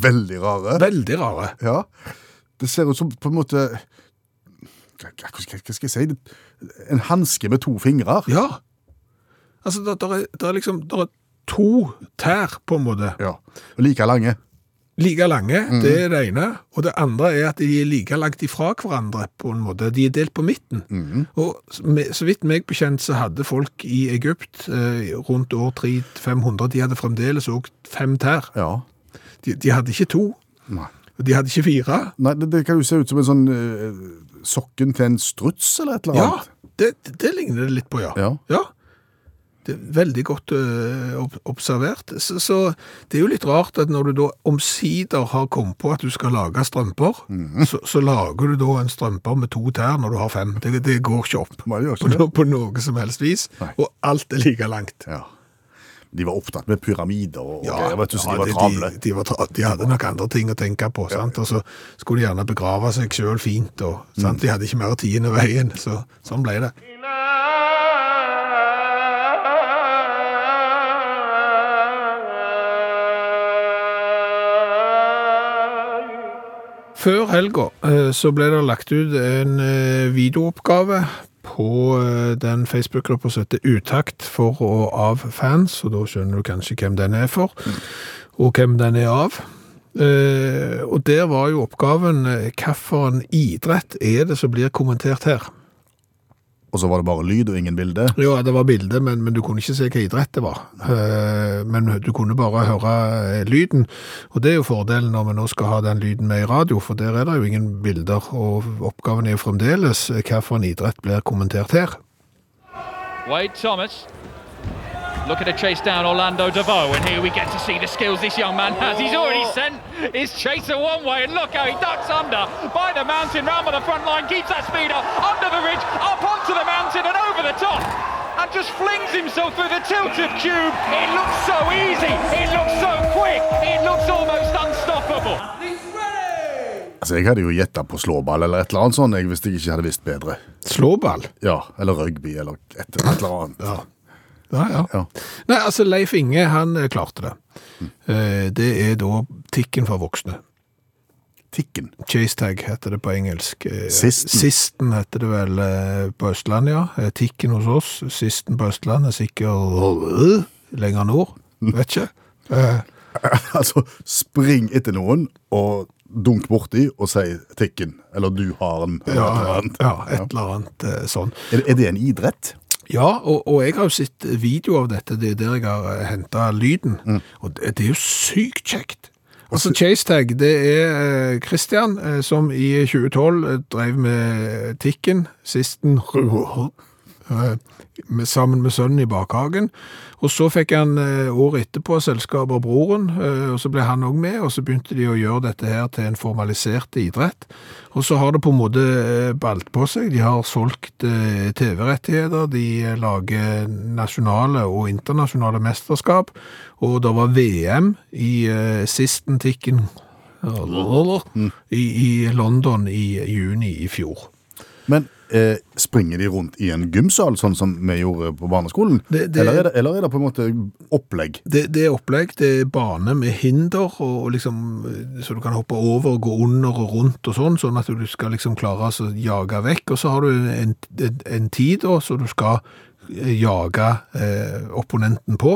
[SPEAKER 3] Veldig rare.
[SPEAKER 2] Veldig rare.
[SPEAKER 3] Ja. Det ser ut som på en måte Hva hva- hva skal jeg si? En hanske med to fingre.
[SPEAKER 2] Ja. Altså, det er, der er liksom der er to tær, på en måte.
[SPEAKER 3] Ja. Og like lange.
[SPEAKER 2] Like lange, det er det ene. Og det andre er at de er like langt ifra hverandre, på en måte. De er delt på midten. Og s- med- så vidt meg bekjent, så hadde folk i Egypt eh, rundt år 300-500, de hadde fremdeles òg fem tær.
[SPEAKER 3] Ja.
[SPEAKER 2] De, de hadde ikke to.
[SPEAKER 3] Nei.
[SPEAKER 2] og De hadde ikke fire.
[SPEAKER 3] Nei, det, det kan jo se ut som en sånn eh, sokken til en struts eller et eller
[SPEAKER 2] Ja,
[SPEAKER 3] annet.
[SPEAKER 2] det, det ligner det litt på, ja.
[SPEAKER 3] Ja.
[SPEAKER 2] Det er veldig godt eh, ob- observert. Så, så det er jo litt rart at når du da omsider har kommet på at du skal lage strømper,
[SPEAKER 3] Mhm.
[SPEAKER 2] så, så lager du da en strømper med to tær når du har fem. Det, det går ikke opp
[SPEAKER 3] Nei, det gjør
[SPEAKER 2] på,
[SPEAKER 3] ikke det.
[SPEAKER 2] no, på noe som helst vis,
[SPEAKER 3] Nei.
[SPEAKER 2] og alt er like langt.
[SPEAKER 3] Ja. De var opptatt med pyramider og ja, greier, vet du,
[SPEAKER 2] ja,
[SPEAKER 3] så de var travle.
[SPEAKER 2] De, de, var tra de hadde nok andre ting å tenke på, sant? og så skulle de gjerne begrave seg sjøl fint. Og, sant?
[SPEAKER 3] Mm.
[SPEAKER 2] De hadde ikke mer tid enn veien, så sånn ble det. Før helga eh, så ble det lagt ut en eh, videooppgave på eh, den Facebook-gruppa som heter Utakt for og av fans, og da skjønner du kanskje hvem den er for, og hvem den er av. Eh, Og der var jo oppgaven eh, hvilken idrett er det som blir kommentert her?
[SPEAKER 3] Og så var det bare lyd og ingen bilde.
[SPEAKER 2] Ja, det var bilde, men, men du kunne ikke se hva idrett det var. Eh, Men du kunne bare høre eh, lyden. Og det er jo fordelen når vi nå skal ha den lyden med i radio, for der er det jo ingen bilder. Og oppgaven er jo fremdeles eh, hva for en idrett blir kommentert her.
[SPEAKER 8] Wade Thomas looking to chase down Orlando DeVoe, and here we get to see the skills this young man has. He's already sent his chaser one way, and look how he ducks under by the mountain, round by the front line, keeps that speed up, under the ridge, up onto the mountain, and over the top. And just flings himself through the tilted cube. It looks so easy. It looks so quick. It looks almost unstoppable.
[SPEAKER 3] Altså, Jeg hadde jo gjetta på slåball eller et eller annet sånt, jeg, hvis jeg ikke hadde visst bedre.
[SPEAKER 2] Slåball.
[SPEAKER 3] Ja, Eller rugby eller et, et eller annet.
[SPEAKER 2] Ja, ja.
[SPEAKER 3] Ja.
[SPEAKER 2] Nei, altså Leif Inge, han eh, klarte det. Eh, Det er da tikken for voksne.
[SPEAKER 3] Tikken.
[SPEAKER 2] Chase tag heter det på engelsk. Eh,
[SPEAKER 3] Sisten.
[SPEAKER 2] Sisten heter det vel eh, på Østlandet, ja. Eh, Tikken hos oss. Sisten på Østlandet, sikkert lenger nord. Vet ikke. Eh,
[SPEAKER 3] altså, spring etter noen og dunk borti og si 'tikken', eller 'du har den'. eller
[SPEAKER 2] ja, ja,
[SPEAKER 3] et eller annet.
[SPEAKER 2] ja, et eller annet eh, sånn.
[SPEAKER 3] Er, er det en idrett?
[SPEAKER 2] Ja, og, og jeg har jo sett video av dette, det er der jeg har henta lyden.
[SPEAKER 3] Mm.
[SPEAKER 2] Og det, det er jo sykt kjekt. Altså Chase Tag, det er eh, Christian eh, som i 2012 eh, drev med eh, Tikken, sisten eh, med, sammen med sønnen i bakhagen. Og så fikk han eh, året etterpå selskap av broren, eh, og så ble han òg med. Og så begynte de å gjøre dette her til en formalisert idrett. Og så har det på en måte eh, balt på seg. De har solgt eh, TV-rettigheter, de eh, lager nasjonale og internasjonale mesterskap. Og det var VM i eh, sisten tikken i, i London i juni i fjor.
[SPEAKER 3] Men eh, springer de rundt i en gymsal, sånn som vi gjorde på barneskolen?
[SPEAKER 2] Det- det-
[SPEAKER 3] Eller, er det, eller er det på en måte opplegg?
[SPEAKER 2] Det, det er opplegg, det er bane med hinder, og, og liksom, eh, så du kan hoppe over, gå under og rundt og sånn, sånn at du skal liksom klare å jage vekk. Og så har du en, en, en tid da, så du skal eh, jage eh, opponenten på.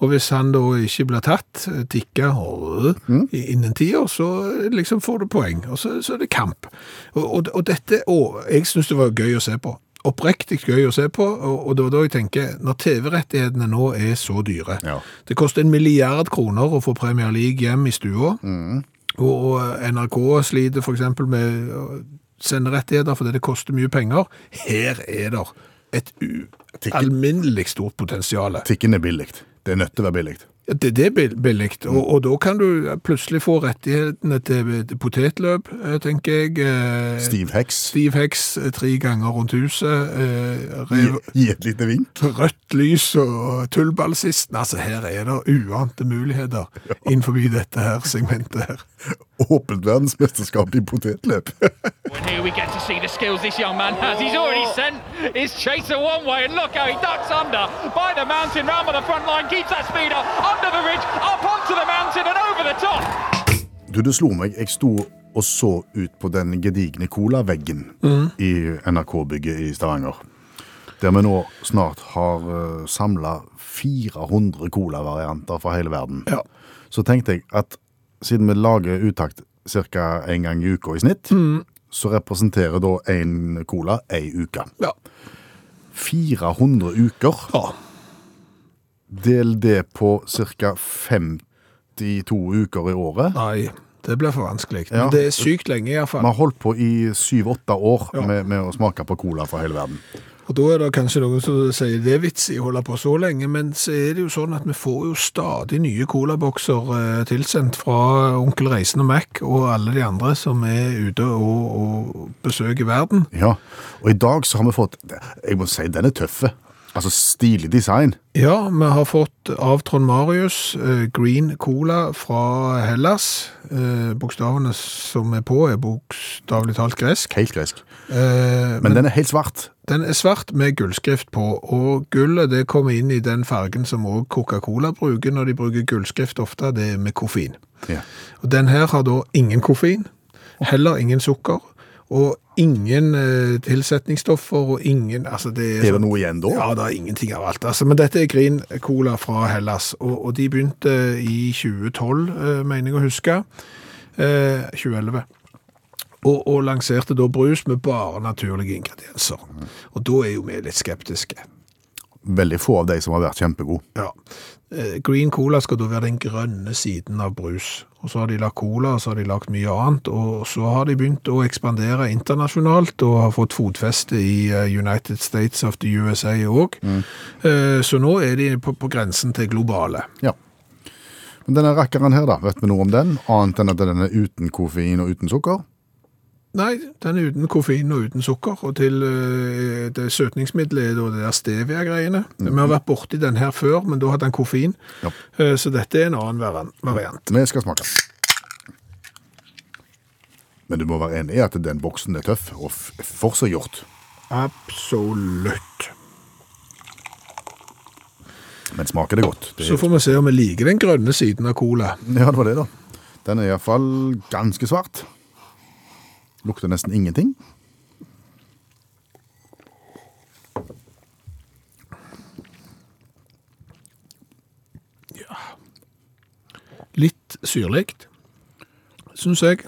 [SPEAKER 2] Og hvis han da ikke blir tatt, eh, tikker og, øh, i- innen tida, så eh, liksom får du poeng. Og så, så er det kamp. Og, og, og dette, og jeg synes det var gøy å se på. Oppriktig gøy å se på, og, og det var da jeg tenker, når TV-rettighetene nå er så dyre,
[SPEAKER 3] Ja.
[SPEAKER 2] det koster en milliard kroner å få Premier League hjem i stua. Og eh, NRK sliter f.eks. med å sende rettigheter fordi det koster mye penger. Her er det et ualminnelig stort potensial.
[SPEAKER 3] Tikken er billig. Det er nødt til å være billig.
[SPEAKER 2] Ja, Det, det er bill- billig, og, og da kan du plutselig få rettighetene til potetløp, eh, tenker jeg. Eh,
[SPEAKER 3] Stiv heks.
[SPEAKER 2] Stiv heks eh, tre ganger rundt huset. Eh,
[SPEAKER 3] Gi,
[SPEAKER 2] rev,
[SPEAKER 3] gi et lite vink.
[SPEAKER 2] rødt lys og tullballsisten. Altså, her er det uante muligheter innenfor dette her segmentet her.
[SPEAKER 3] Åpent verdensmesterskap i potetløp.
[SPEAKER 8] And here we get to see the skills this young man has. He's already sent his chaser one way, and look how he ducks under by the mountain, round by the front line, keeps that speed up, under the ridge, up onto the mountain, and over the top.
[SPEAKER 3] Du, det slo meg. Jeg sto og så ut på den gedigne colaveggen i NRK-bygget i Stavanger. Der vi nå snart har uh, samla 400 colavarianter fra hele verden.
[SPEAKER 2] Ja.
[SPEAKER 3] Så tenkte jeg at siden vi lager uttakt ca. én gang i uka i snitt, så representerer da én cola ei uke.
[SPEAKER 2] Ja.
[SPEAKER 3] 400 uker. Del det på ca. 52 uker i året.
[SPEAKER 2] Nei, det blir for vanskelig.
[SPEAKER 3] Ja.
[SPEAKER 2] Men det er sykt lenge
[SPEAKER 3] Vi har
[SPEAKER 2] iallfall.
[SPEAKER 3] holdt på i syv-åtte år med, med å smake på cola fra hele verden.
[SPEAKER 2] Og da er det kanskje noen som sier det er vits i å holde på så lenge, men så er det jo sånn at vi får jo stadig nye colabokser eh, tilsendt fra Onkel Reisen og Mac og alle de andre som er ute og, og besøker verden.
[SPEAKER 3] Ja, Og i dag så har vi fått Jeg må si den er tøff. Altså stilig design.
[SPEAKER 2] Ja, vi har fått av Trond Marius eh, Green Cola fra Hellas. Eh, bokstavene som er på, er bokstavelig talt gresk.
[SPEAKER 3] Helt gresk.
[SPEAKER 2] Eh,
[SPEAKER 3] Men den er helt svart.
[SPEAKER 2] Den er svart med gullskrift på, og gullet det kommer inn i den fargen som også Coca-Cola bruker når de bruker gullskrift ofte, det er med koffein.
[SPEAKER 3] Ja.
[SPEAKER 2] Og den her har da ingen koffein, heller ingen sukker, og ingen eh, tilsetningsstoffer, og ingen, altså det er...
[SPEAKER 3] Er det
[SPEAKER 2] sånn-
[SPEAKER 3] noe igjen da?
[SPEAKER 2] Ja, det er ingenting av alt. Altså, men dette er Green Cola fra Hellas, og, og de begynte i 2012, eh, mener jeg å huske. Eh, 2011. Og, og lanserte da brus med bare naturlige ingredienser. Og da er jo vi litt skeptiske.
[SPEAKER 3] Veldig få av de som har vært kjempegod.
[SPEAKER 2] Ja. Eh, Green Cola skal da være den grønne siden av brus. Og så har de lagt cola, og så har de lagt mye annet, og så har de begynt å ekspandere internasjonalt og har fått fotfeste i eh, United States of the USA òg. Eh, Så nå er de på, på grensen til globale.
[SPEAKER 3] Ja. Men denne rakkeren her, da, vet vi noe om den? Annet enn at den er uten koffein og uten sukker?
[SPEAKER 2] Nei, den er uten koffein og uten sukker, og til eh, det søtningsmiddelet er da det der stevia-greiene. Vi har vært borti den her før, men da hadde den koffein,
[SPEAKER 3] Ja.
[SPEAKER 2] Eh, så dette er en annen varan- variant.
[SPEAKER 3] Vi skal smake. Men du må være enig i at den boksen er tøff og f- for seg gjort.
[SPEAKER 2] Absolutt.
[SPEAKER 3] Men smaker det godt. Det
[SPEAKER 2] Så får vi se om vi liker den grønne siden av cola.
[SPEAKER 3] Ja, det var det, da. Den er iallfall ganske svart. Lukter nesten ingenting.
[SPEAKER 2] Litt syrlig, syns jeg.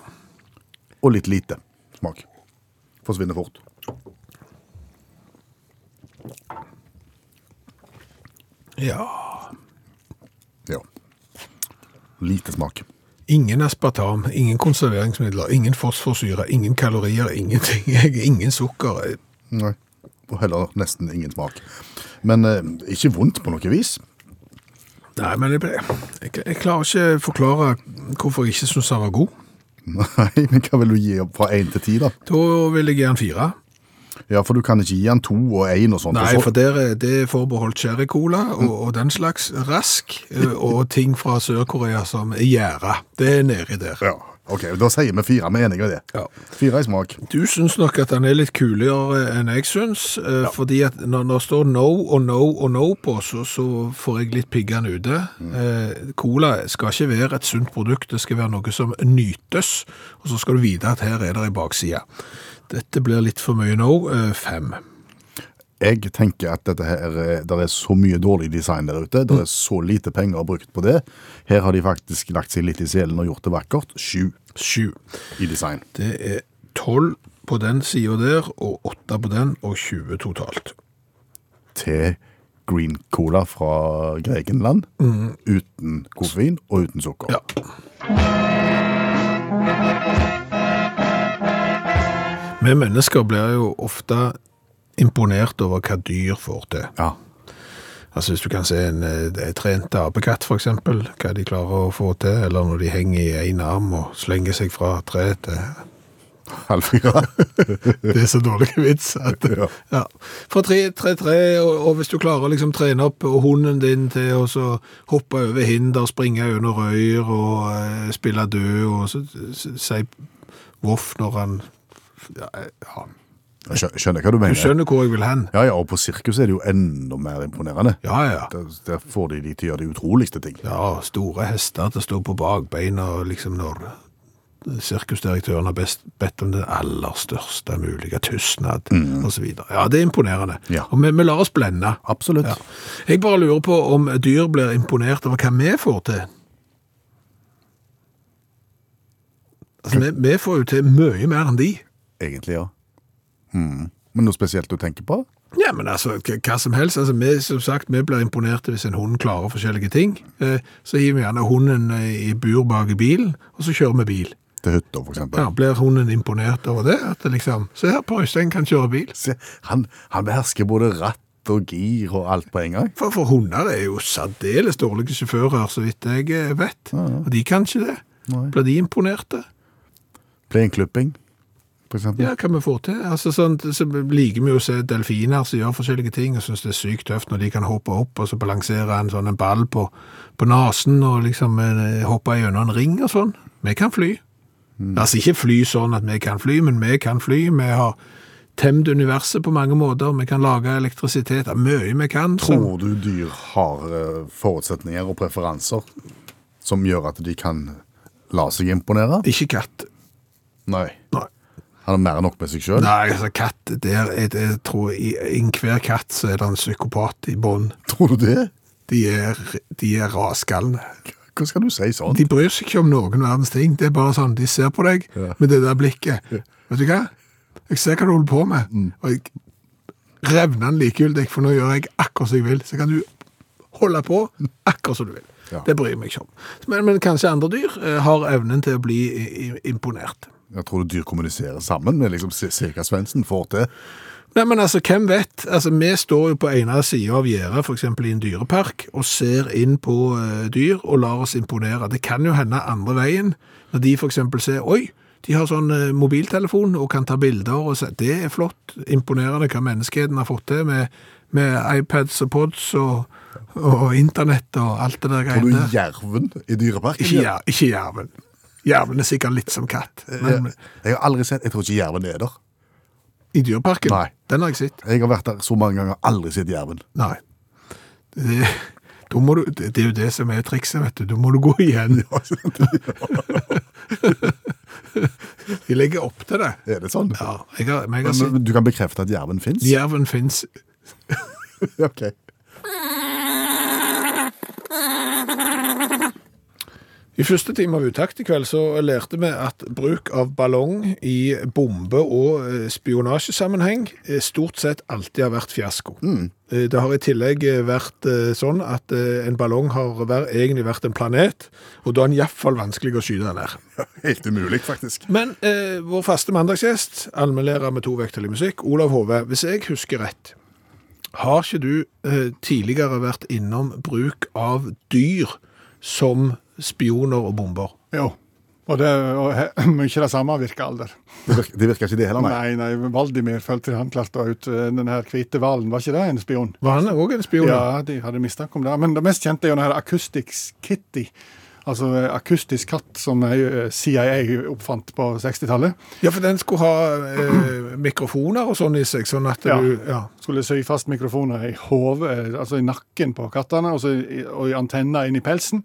[SPEAKER 3] Og litt lite smak. Forsvinner fort.
[SPEAKER 2] Ja.
[SPEAKER 3] Ja. Lite smak.
[SPEAKER 2] Ingen aspartam, ingen konserveringsmidler, ingen fosforsyre, ingen kalorier, ingenting. Ingen sukker.
[SPEAKER 3] Nei. Og heller nesten ingen smak. Men eh, ikke vondt på noe vis.
[SPEAKER 2] Nei, men jeg, jeg, jeg klarer ikke forklare hvorfor jeg ikke syns han var god.
[SPEAKER 3] Nei, men hva vil du gi opp fra én til ti, da?
[SPEAKER 2] Da vil jeg gi han fire.
[SPEAKER 3] Ja, for du kan ikke gi den to og én og sånt.
[SPEAKER 2] Nei,
[SPEAKER 3] og
[SPEAKER 2] for
[SPEAKER 3] så,
[SPEAKER 2] der er det er forbeholdt sherrycola og, og den slags. Rask eh, og ting fra Sør-Korea som er gjæra. Det er nedi der.
[SPEAKER 3] ja. Ok, da sier vi fire. Vi er enige i det.
[SPEAKER 2] Ja.
[SPEAKER 3] Fire i smak.
[SPEAKER 2] Du syns nok at han er litt kulere enn jeg syns. eh, Fordi at når når det står no og no og no på, så, så får jeg litt piggene ute. Eh, Cola skal ikke være et sunt produkt, det skal være noe som nytes. Og så skal du vite at her er det ei bakside. Dette blir litt for mye no. eh, Fem.
[SPEAKER 3] Jeg tenker at dette her, er- der er så mye dårlig design der ute. Der
[SPEAKER 2] Mm.
[SPEAKER 3] er så lite penger brukt på det. Her har de faktisk lagt seg litt i selen og gjort det vakkert. Sju
[SPEAKER 2] Sju.
[SPEAKER 3] i design.
[SPEAKER 2] Det er tolv på den sida der, og åtte på den, og 20 totalt.
[SPEAKER 3] Til green cola fra Gregenland. Uten koffein og uten sukker.
[SPEAKER 2] Mm. Ja. Vi mennesker blir jo ofte imponert over hva dyr får til.
[SPEAKER 3] Ja.
[SPEAKER 2] Altså Hvis du kan se en, eh, en trent apekatt, f.eks., hva de klarer å få til, eller når de henger i én arm og slenger seg fra tre til
[SPEAKER 3] Halv fire.
[SPEAKER 2] Det er så dårlig vits. At,
[SPEAKER 3] Ja.
[SPEAKER 2] ja. Fra tre, tre, tre, og, og hvis du klarer å liksom trene opp hunden din til å så hoppe over hinder, springe under røyer og eh, spille død, og så, så, si voff når han ja, ja.
[SPEAKER 3] Jeg skjø- skjønner hva du mener.
[SPEAKER 2] Du skjønner hvor jeg vil hen?
[SPEAKER 3] Ja, ja, og på sirkus er det jo enda mer imponerende.
[SPEAKER 2] Ja, ja.
[SPEAKER 3] Der, der får de de til å gjøre de utroligste ting.
[SPEAKER 2] Ja, Store hester til å stå på bakbeina liksom når sirkusdirektøren har best, bedt om den aller største mulige tystnad, og osv. Ja, det er imponerende.
[SPEAKER 3] Ja.
[SPEAKER 2] Og vi, vi lar oss blende.
[SPEAKER 3] Absolutt.
[SPEAKER 2] Ja. Jeg bare lurer på om dyr blir imponert over hva vi får til. Altså, vi, vi får jo til mye mer enn de.
[SPEAKER 3] Egentlig, ja. Mm. Men noe spesielt du tenker på?
[SPEAKER 2] Ja, men altså, hva hva som helst. Altså, vi, som sagt, vi blir imponerte hvis en hund klarer forskjellige ting. Eh, Så gir vi gjerne hunden eh, i bur bak i bilen, og så kjører vi bil.
[SPEAKER 3] Til hytta, for eksempel.
[SPEAKER 2] Ja, blir hunden imponert over det? At det liksom, se her, Per Øystein kan kjøre bil.
[SPEAKER 3] Se, han, han behersker både ratt og gir og alt på en gang.
[SPEAKER 2] For, for hunder er jo særdeles dårlige sjåfører, så vidt jeg eh, vet. Og de kan ikke det. Blir de imponerte?
[SPEAKER 3] Plenklipping. for eksempel?
[SPEAKER 2] Ja, hva vi får til. Altså, sånn, så liker vi jo å se delfiner som gjør forskjellige ting, og synes det er sykt tøft når de kan hoppe opp og så balansere en sånn en ball på, på nasen, og liksom eh, hoppe gjennom en ring og sånn. Vi kan fly. Altså ikke fly sånn at vi kan fly, men vi kan fly. Vi har temt universet på mange måter, vi kan lage elektrisitet, det er mye vi kan. som-
[SPEAKER 3] Tror du dyr har eh, forutsetninger og preferanser som gjør at de kan la seg imponere?
[SPEAKER 2] Ikke katt.
[SPEAKER 3] Nei.
[SPEAKER 2] Nei.
[SPEAKER 3] Han er mer enn nok med seg sjøl.
[SPEAKER 2] Nei, altså katt, der er det, jeg tror i enhver katt så er det en psykopat i bånd.
[SPEAKER 3] Tror du det?
[SPEAKER 2] De er, de er raskalende.
[SPEAKER 3] Hva skal du si sånn?
[SPEAKER 2] De bryr seg ikke om noen verdens ting. Det er bare sånn, de ser på deg med det der blikket. Vet du hva? Jeg ser hva du holder på med. Og jeg revner den likegyldig, for nå gjør jeg akkurat som jeg vil. Så kan du holde på akkurat som du vil.
[SPEAKER 3] Ja.
[SPEAKER 2] Det bryr jeg meg ikke om. Men, men kanskje andre dyr eh, har evnen til å bli i- i- imponert.
[SPEAKER 3] Jeg tror du dyr kommuniserer sammen med liksom se, se hva Svendsen får til.
[SPEAKER 2] Nei, men altså, hvem vet? Altså, vi står jo på ene siden av gjerdet, for eksempel i en dyrepark, og ser inn på eh, dyr og lar oss imponere. Det kan jo hende andre veien, når de for eksempel ser, oi, de har sånn eh, mobiltelefon og kan ta bilder, og se, det er flott, imponerende hva menneskeheten har fått til med, med iPads og pods og, og internett og alt det der
[SPEAKER 3] Tror
[SPEAKER 2] greiene.
[SPEAKER 3] du jerven i dyreparken?
[SPEAKER 2] Ikke, jer- ikke jerven. Jerven er sikkert litt som katt,
[SPEAKER 3] Eh,
[SPEAKER 2] men
[SPEAKER 3] Jeg har aldri sett, jeg tror ikke jerven er der.
[SPEAKER 2] i dyreparken,
[SPEAKER 3] Nei.
[SPEAKER 2] den har jeg sett.
[SPEAKER 3] Jeg har vært der så mange ganger, aldri sett jerven.
[SPEAKER 2] Nei. Det, da må du, det er jo det som er trikset, vet du. Da må du gå igjen. De legger opp til det.
[SPEAKER 3] Er det sånn?
[SPEAKER 2] Ja, jeg har, men jeg har
[SPEAKER 3] Men,
[SPEAKER 2] sett
[SPEAKER 3] men du kan bekrefte at jerven fins?
[SPEAKER 2] Jerven fins.
[SPEAKER 3] Ok.
[SPEAKER 2] I første time av Utakt i kveld så lærte vi at bruk av ballong i bombe- og eh, spionasjesammenheng eh, stort sett alltid har vært fiasko. Eh, Det har i tillegg eh, vært eh, sånn at eh, en ballong har vært- egentlig vært en planet, og da er den iallfall vanskelig å skyte den ned.
[SPEAKER 3] Helt umulig, faktisk.
[SPEAKER 2] Men eh, vår faste mandagsgjest, allmennlærer med to vekttall i musikk, Olav Hove, hvis jeg husker rett, har ikke du eh, tidligere vært innom bruk av dyr som spioner og bomber?
[SPEAKER 7] Jo. Og det og he- mye det samme virker alder.
[SPEAKER 3] Det virker, det virker ikke det heller, nei.
[SPEAKER 7] Nei, nei, Valdimir følte han klarte å ut eh, den her hvite hvalen. Var ikke det en spion?
[SPEAKER 2] Var han òg en spion?
[SPEAKER 7] Ja, de hadde mistanke om det. Men det mest kjente er jo den her Acoustics Kitty. Altså eh, akustisk katt som eh, CIA oppfant på 60-tallet.
[SPEAKER 2] Ja, for den skulle ha eh, mikrofoner og sånn i seg, sånn at
[SPEAKER 7] Ja.
[SPEAKER 2] du ja.
[SPEAKER 7] Skulle sy fast mikrofoner i hodet, altså i nakken på kattene, og, så i, og i antenner inn i pelsen.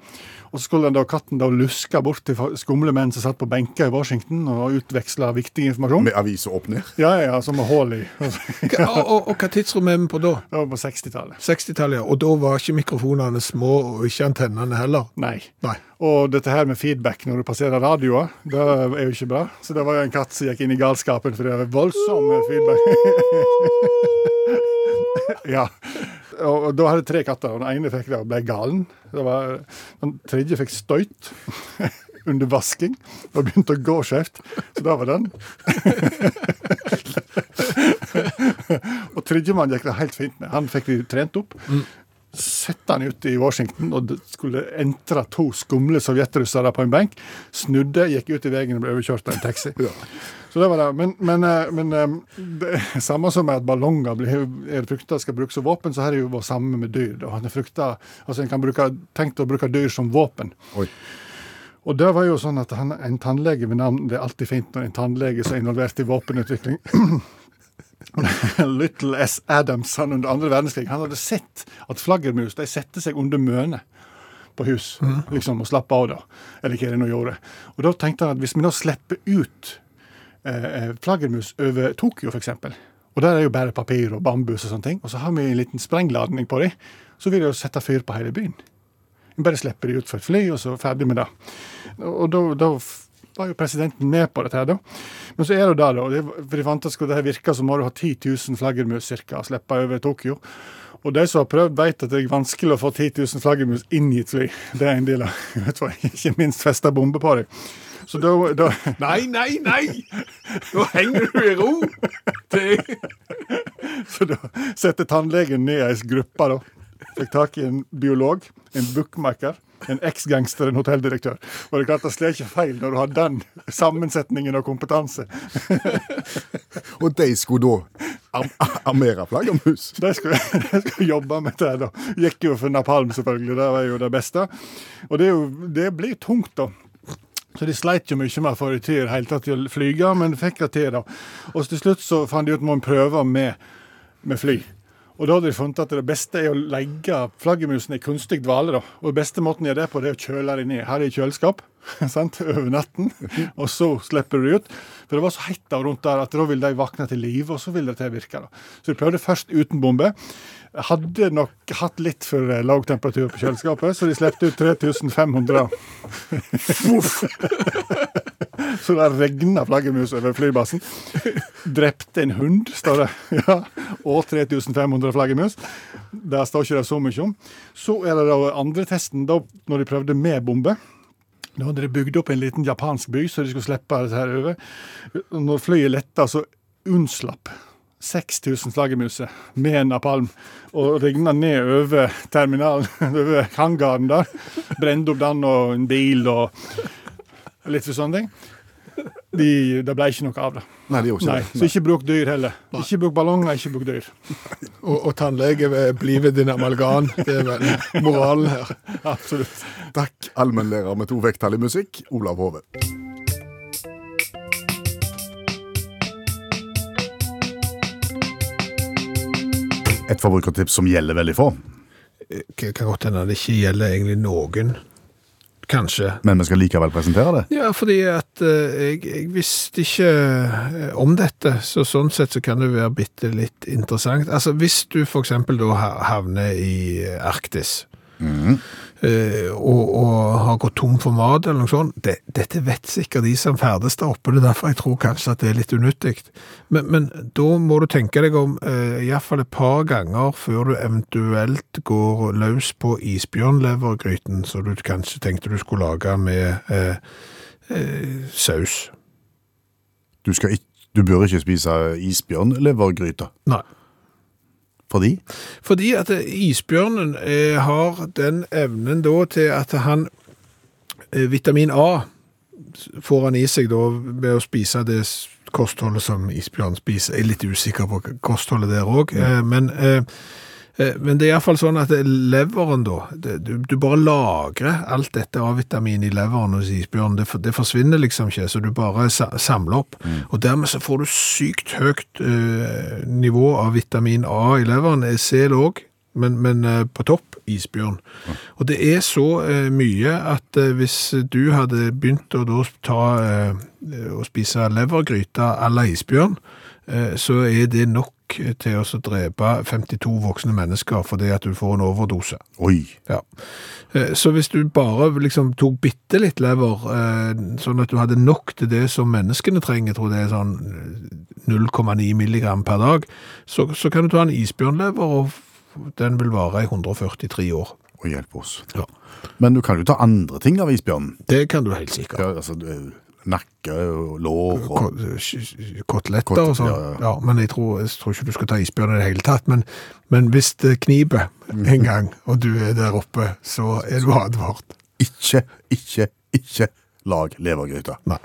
[SPEAKER 7] Og så skulle den da, katten da luske bort til fa- skumle menn som satt på benker i Washington og utveksla viktig informasjon.
[SPEAKER 3] Med aviser opp ned.
[SPEAKER 7] Ja, ja, ja, som med hull i.
[SPEAKER 2] Hva- Og, og, og hva tidsrom er vi på da?
[SPEAKER 7] Det var på 60-tallet.
[SPEAKER 2] 60-tallet, ja. Og da var ikke mikrofonene små, og ikke antennene heller.
[SPEAKER 7] Nei.
[SPEAKER 2] Nei.
[SPEAKER 7] Og dette her med feedback når du passerer radioer, det er jo ikke bra. Så det var jo en katt som gikk inn i galskapen, for det var voldsom feedback. ja. Og, og da hadde jeg tre katter, og den ene fikk det og ble galen. Det var, den tredje fikk støyt under vasking og begynte å gå skjevt. Så da var den. og tredjemann gikk det helt fint med. Han fikk de trent opp sette han ut i Washington og det skulle entre to skumle sovjetrussere på en benk. Snudde, gikk ut i veien og ble overkjørt av en taxi. Så det var det. Men, men, eh, men eh, det er samme som med at ballonger blir, er frykta skal brukes som våpen, så her er jo det samme med dyr. Da. Han er frykta, altså En kan bruke, tenkt å bruke dyr som våpen.
[SPEAKER 3] Oi.
[SPEAKER 7] Og det var jo sånn at han, en tannlege ved navn Det er alltid fint når en tannlege som er involvert i våpenutvikling. Little S. Adams han under andre verdenskrig han hadde sett at flaggermus de setter seg under møne på hus
[SPEAKER 2] Mhm.
[SPEAKER 7] liksom, og slapper av. da, Eller hva de nå gjorde. Og Da tenkte han at hvis vi nå slipper ut eh, flaggermus over Tokyo, f.eks., og der er jo bare papir og bambus og sånne ting, og så har vi en liten sprengladning på dem, så vil de jo sette fyr på hele byen. Vi bare slipper de ut for et fly, og så ferdig med det. Og da, da f- var jo presidenten med på dette her, da. Men så er det jo det, da. det- For de fant at skulle dette virke, så må du ha 10 000 flaggermus cirka, å slippe over Tokyo. Og de som har prøvd, vet at det er vanskelig å få 10 000 flaggermus inn i et fly. Det er en del av vet du hva, Ikke minst festa bombe på deg. Så da, da
[SPEAKER 2] Nei, nei, nei! Nå henger du i ro! Det...
[SPEAKER 7] Så da setter tannlegen ned ei gruppe, da. Fikk tak i en biolog, en bookmaker, En eks-gangster, en hotelldirektør. Og det er klart det slår ikke feil når du har den sammensetningen og kompetanse.
[SPEAKER 3] Og de skulle da ar armere flaggermus.
[SPEAKER 7] De skulle, de skulle jobbe med det. da. Gikk jo for napalm, selvfølgelig. Det var jo det beste. Og det, er jo, det blir tungt, da. Så de sleit jo mye med å få det til i det hele tatt til å flyge, men fikk det til, da. Og så til slutt så fant de ut må en prøve med, med fly. Og da hadde de funnet at det beste er å legge flaggermusene i kunstig dvale. da. Og den beste måten å gjøre det på, det er å kjøle dem ned. Her er det kjøleskap sant, over natten, og så slipper du dem ut. For det var så hett av rundt der at da ville de våkne til live, og så ville det til virke. da. Så de prøvde først uten bombe. Hadde nok hatt litt for eh, lav temperatur på kjøleskapet, så de slippte ut 3500. Så det regna flaggermus over flybasen. Drepte en hund, står det. Ja, Og 3500 flaggermus. Det står ikke det så mye om. Så er det da andre testen, da når de prøvde med bombe. Da hadde de bygd opp en liten japansk by, så de skulle slippe dette her over. Når flyet letta, så unnslapp 6000 flaggermuser med napalm og regna ned over terminalen, over hangaren der. Brente opp den og en bil og litt for sånne ting. De, det ble ikke noe av det.
[SPEAKER 3] Nei, det gjorde
[SPEAKER 7] Nei,
[SPEAKER 3] ikke
[SPEAKER 7] Så
[SPEAKER 3] det.
[SPEAKER 7] ikke bruk dyr heller. Ikke bruk ballonger, ikke bruk dyr.
[SPEAKER 2] Og, og tannlege, ved- bli ved din amalgan. Det er vel moralen her.
[SPEAKER 7] Absolutt.
[SPEAKER 3] Nei. Takk, allmennlærer med to vekttall i musikk, Olav Hove. Et forbrukertips som gjelder veldig få,
[SPEAKER 2] Det kan godt hende det ikke gjelder egentlig noen. Kanskje.
[SPEAKER 3] men vi skal likevel presentere det.
[SPEAKER 2] Ja, fordi at eh, jeg, jeg visste ikke eh, om dette, så sånn sett så kan det være bitte litt interessant. Altså, hvis du for eksempel da ha- havner i eh, Arktis, eh, og, og har gått tom for mat eller noe sånt, det, dette vet sikkert de som ferdes der oppe, det er derfor jeg tror kanskje at det er litt unyttig. Men, men da må du tenke deg om eh, i hvert fall et par ganger før du eventuelt går løs på isbjørnlevergryten, som du kanskje tenkte du skulle lage med eh, saus.
[SPEAKER 3] Du, skal ikke, du bør ikke spise isbjørnlevergryte.
[SPEAKER 2] Nei.
[SPEAKER 3] Fordi?
[SPEAKER 2] Fordi at eh, isbjørnen eh, har den evnen da til at han eh, Vitamin A s- får han i seg da ved å spise det s- kostholdet som isbjørn spiser. Jeg er litt usikker på k- kostholdet der òg, eh, men eh, eh, men det er iallfall sånn at eh, leveren, da det, du, du bare lagrer alt dette A-vitamin i leveren hos isbjørnen. Det, for- det forsvinner liksom ikke, så du bare sa, samler opp. Og dermed så får du sykt høyt eh, nivå av vitamin A i leveren. Eh, Sel òg, men, men eh, på topp isbjørn. Og det er så eh, mye at eh, hvis du hadde begynt å da ta eh, å spise levergryte à la isbjørn, eh, så er det nok til å så drepe 52 voksne mennesker fordi at du får en overdose.
[SPEAKER 3] Oi.
[SPEAKER 2] Ja. Eh, Så hvis du bare liksom tok bitte litt lever, eh, sånn at du hadde nok til det som menneskene trenger, jeg tror det er sånn eh, 0,9 milligram per dag, så, så kan du ta en isbjørnlever, og f- den vil vare i 143 år.
[SPEAKER 3] Og hjelp oss.
[SPEAKER 2] Ja.
[SPEAKER 3] Men du kan jo ta andre ting av isbjørnen.
[SPEAKER 2] Det kan du helt sikkert.
[SPEAKER 3] Ja, altså, du- nakke og lår og
[SPEAKER 2] Ko- sk- Koteletter
[SPEAKER 3] Kotel-
[SPEAKER 2] og sånn.
[SPEAKER 3] ja,
[SPEAKER 2] Ja,
[SPEAKER 3] ja, ja.
[SPEAKER 2] men jeg tror, jeg tror ikke du skal ta isbjørn i det hele tatt. Men, men hvis det kniper en gang, og du er der oppe, så er du advart.
[SPEAKER 3] Ikke, ikke, ikke lag levergryte.
[SPEAKER 2] Nei.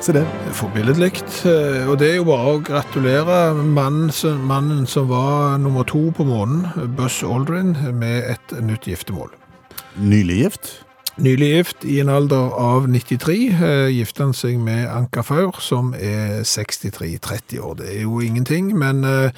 [SPEAKER 3] Se det.
[SPEAKER 2] Forbilledlig. eh, Og det er jo bare å gratulere mannen som, mannen som var nummer to på månen, Buzz Aldrin, med et nytt giftermål.
[SPEAKER 3] Nylig gift.
[SPEAKER 2] Nylig gift, i en alder av 93, eh, gifter han seg med Anka Faur, som er 63-30 år. Det er jo ingenting, men eh,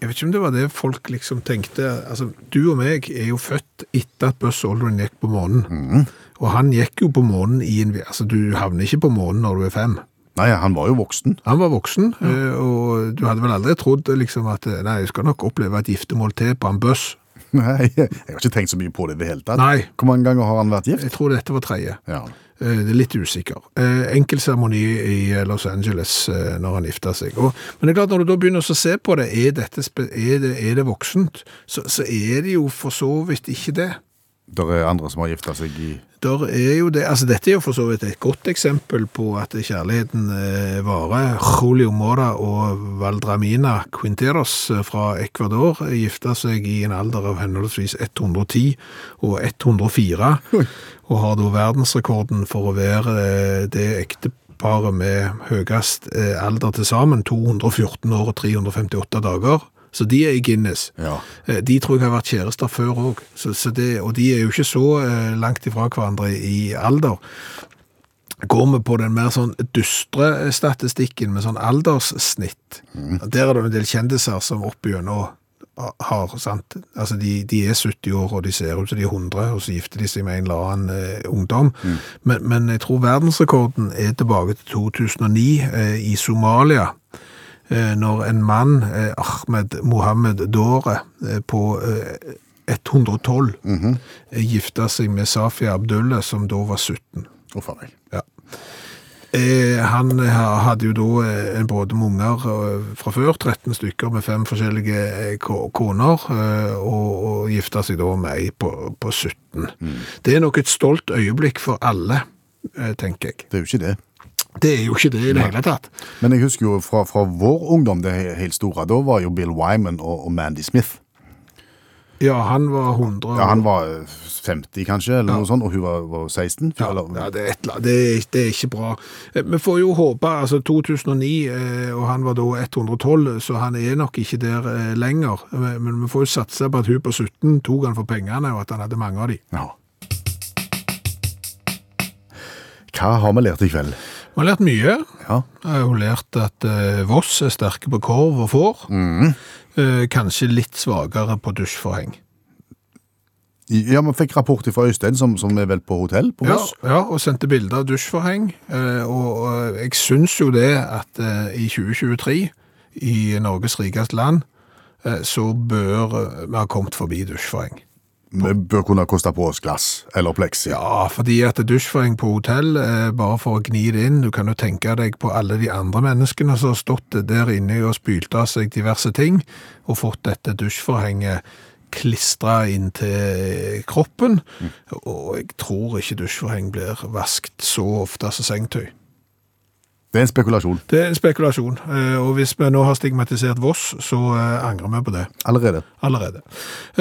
[SPEAKER 2] jeg vet ikke om det var det folk liksom tenkte. Altså, du og meg er jo født etter at Buzz Aldrin gikk på månen. Og han gikk jo på månen i en... Altså, du havner ikke på månen når du er fem.
[SPEAKER 3] Nei, han var jo voksen.
[SPEAKER 2] Han var voksen, eh, og du hadde vel aldri trodd liksom, at eh, nei, du skal nok oppleve et giftermål til på en buss.
[SPEAKER 3] Nei, jeg har ikke tenkt så mye på det i det hele tatt.
[SPEAKER 2] Nei.
[SPEAKER 3] Hvor mange ganger har han vært gift?
[SPEAKER 2] Jeg tror dette var tredje.
[SPEAKER 3] Ja.
[SPEAKER 2] Eh, Det er litt usikker. Eh, Enkel seremoni i eh, Los Angeles eh, når han gifta seg. Og, men det er klart, når du da begynner å se på det, er, dette, spe- er, det, er det voksent, så, så er det jo for så vidt ikke det.
[SPEAKER 3] Det er andre som har gifta seg i
[SPEAKER 2] Der er jo det, altså Dette er jo for så vidt et godt eksempel på at kjærligheten eh, varer. Julio Mora og Valdramina Quinteros eh, fra Ecuador gifta seg i en alder av henholdsvis 110 og 104, og har da verdensrekorden for å være eh, det ekteparet med høyest eh, alder til sammen, 214 år og 358 dager. Så de er i Guinness.
[SPEAKER 3] Ja.
[SPEAKER 2] Eh, De tror jeg har vært kjærester før òg, så, så det- og de er jo ikke så eh, langt ifra hverandre i alder. Går vi på den mer sånn dystre statistikken med sånn alderssnitt, der er det jo en del kjendiser som oppigjennom har, sant? Altså de, de er 70 år, og de ser ut som de er 100, og så gifter de seg med en eller annen eh, ungdom. Men, men jeg tror verdensrekorden er tilbake til 2009 eh, i Somalia eh, når en mann, eh, Ahmed Mohammed Dore, eh, på eh, 112,
[SPEAKER 3] Mhm.
[SPEAKER 2] eh, gifta seg med Safia Abdullah, som da var 17.
[SPEAKER 3] Å, faen meg.
[SPEAKER 2] Eh, han ha- hadde jo da eh, en båte med unger eh, fra før, 13 stykker med fem forskjellige eh, ko- koner, eh, og, og gifta seg da med ei på, på 17.
[SPEAKER 3] Mm.
[SPEAKER 2] Det er nok et stolt øyeblikk for alle, eh, tenker jeg.
[SPEAKER 3] Det er jo ikke det.
[SPEAKER 2] Det er jo ikke det i det hele tatt.
[SPEAKER 3] Men jeg husker jo fra, fra vår ungdom, det he- helt store, da var jo Bill Wyman og, og Mandy Smith.
[SPEAKER 2] Ja, han var 100.
[SPEAKER 3] Ja, Han var eh, 50 kanskje, eller noe sånt, og hun var, var 16.
[SPEAKER 2] Ja,
[SPEAKER 3] eller,
[SPEAKER 2] ja det, er et, eller annet- det, er, det er ikke bra. Eh, Vi får jo håpe, altså 2009, eh, og han var da 112, så han er nok ikke der eh, lenger. Men men vi får jo satse på at hun på 17 tok han for pengene, og at han hadde mange av de.
[SPEAKER 3] Ja. Hva har vi lært i kveld?
[SPEAKER 2] Vi har lært mye.
[SPEAKER 3] Ja.
[SPEAKER 2] Jeg har jo lært at eh, Voss er sterke på korv og får. Eh, kanskje litt svagere på dusjforheng.
[SPEAKER 3] Ja, Vi fikk rapport fra Øystein, som, som er vel på hotell på
[SPEAKER 2] Ja,
[SPEAKER 3] Voss.
[SPEAKER 2] ja, og sendte bilder av dusjforheng. eh, Og, og jeg syns jo det at eh, i 2023, i Norges rikeste land, eh, så bør eh, vi ha kommet forbi dusjforheng.
[SPEAKER 3] Vi bør kunne koste på oss glass eller plexi.
[SPEAKER 2] Ja, fordi at dusjforheng på hotell, eh, bare for å gni det inn, du kan jo tenke deg på alle de andre menneskene som har stått der inne og spylt av seg diverse ting, og fått dette dusjforhenget klistra inn til eh, kroppen, og jeg tror ikke dusjforheng blir vaskt så ofte som sengetøy.
[SPEAKER 3] Det er en spekulasjon
[SPEAKER 2] Det er en spekulasjon, eh, og hvis vi nå har stigmatisert Voss, så eh, angrer vi på det
[SPEAKER 3] allerede.
[SPEAKER 2] allerede.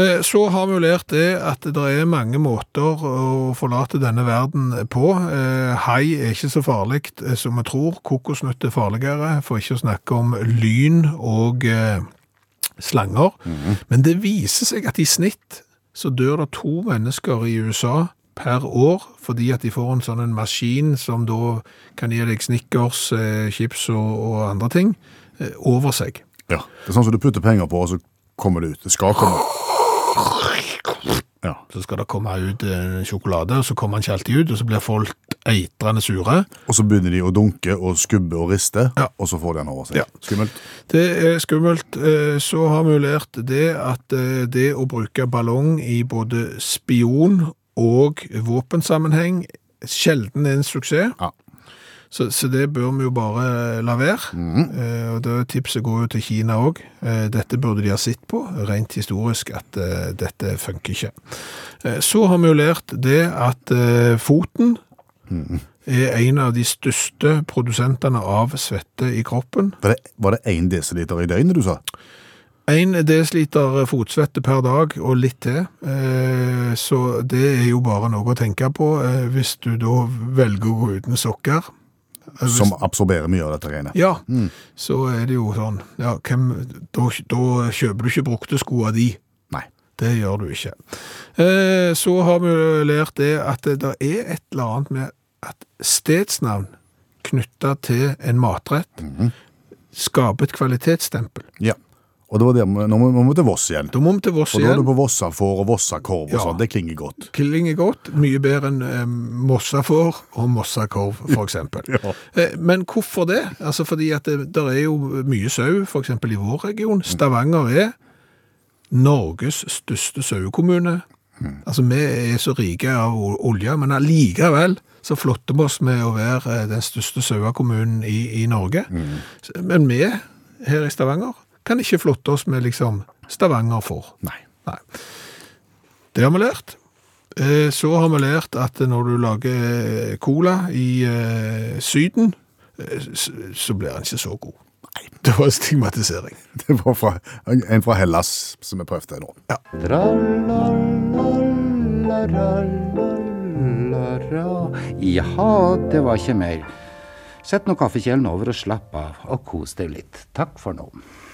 [SPEAKER 2] Eh, Så har vi jo lært det at det er mange måter å forlate denne verden på. Eh, Hai er ikke så farlig eh, som vi tror. Kokosnøtt er farligere, for ikke å snakke om lyn og eh, slanger. Men det viser seg at i snitt så dør det to mennesker i USA per år, fordi at de får en sånn en maskin som da kan gi deg snickers, eh, chips og, og andre ting, eh, over seg.
[SPEAKER 3] Ja. Det er sånn som du putter penger på, og så kommer det ut. Det skal komme. Ja.
[SPEAKER 2] Så skal det komme ut eh, sjokolade, og så kommer den ikke alltid ut, og så blir folk eitrende sure.
[SPEAKER 3] Og så begynner de å dunke og skubbe og riste,
[SPEAKER 2] Ja.
[SPEAKER 3] og så får de den over seg.
[SPEAKER 2] Ja.
[SPEAKER 3] Skummelt.
[SPEAKER 2] Det er skummelt. Eh, Så har vi jo lært det at eh, det å bruke ballong i både spion og våpensammenheng sjelden er en suksess.
[SPEAKER 3] Ja.
[SPEAKER 2] Så, så det bør vi jo bare la være. Eh, og det tipset går jo til Kina òg. Eh, dette burde de ha sett på, rent historisk, at eh, dette funker ikke. Eh, så har vi jo lært det at eh, foten er en av de største produsentene av svette i kroppen.
[SPEAKER 3] Var det- Var det én desiliter i døgnet, du sa?
[SPEAKER 2] 1 dl eh, fotsvette per dag og litt til, eh, så det er jo bare noe å tenke på eh, hvis du da velger å gå uten sokker. Eh, hvis-
[SPEAKER 3] Som absorberer mye av dette regnet.
[SPEAKER 2] Ja, så er det jo sånn ja, hvem, da, da kjøper du ikke brukte sko av de.
[SPEAKER 3] Nei.
[SPEAKER 2] Det gjør du ikke. Eh, så har vi lært det at det der er et eller annet med at stedsnavn knytta til en matrett
[SPEAKER 3] Mm.
[SPEAKER 2] skaper et kvalitetsstempel.
[SPEAKER 3] Ja. Og det var der, vi- nå må nå må vi til Voss igjen.
[SPEAKER 2] Da må vi til Voss
[SPEAKER 3] Og da er du
[SPEAKER 2] igjen.
[SPEAKER 3] på Vossafår og Vossakorv og
[SPEAKER 2] Ja.
[SPEAKER 3] sånn. Det klinger godt.
[SPEAKER 2] Klinger godt, mye bedre enn eh, mossafår og mossakorv, for eksempel. Eh, men hvorfor det? Altså fordi at det der er jo mye sau, for eksempel i vår region. Stavanger er Norges største sauekommune. Altså vi er så rike av ol- olje, men allikevel så flotter vi oss med å være eh, den største sauekommunen i, i Norge. Så- Men vi her i Stavanger kan ikke flotte oss med liksom Stavanger får.
[SPEAKER 3] Nei.
[SPEAKER 2] Nei. Det har vi lært. Eh, Så har vi lært at når du lager eh, cola i eh, Syden, eh, s- så blir den ikke så god. Det var en stigmatisering.
[SPEAKER 3] Det var fra, en fra Hellas som vi prøvde nå.
[SPEAKER 5] Tra-la-la-la-la-la. Jaha, det var ikke mer. Sett nå kaffekjelen over og slapp av, og kos deg litt. Takk for nå.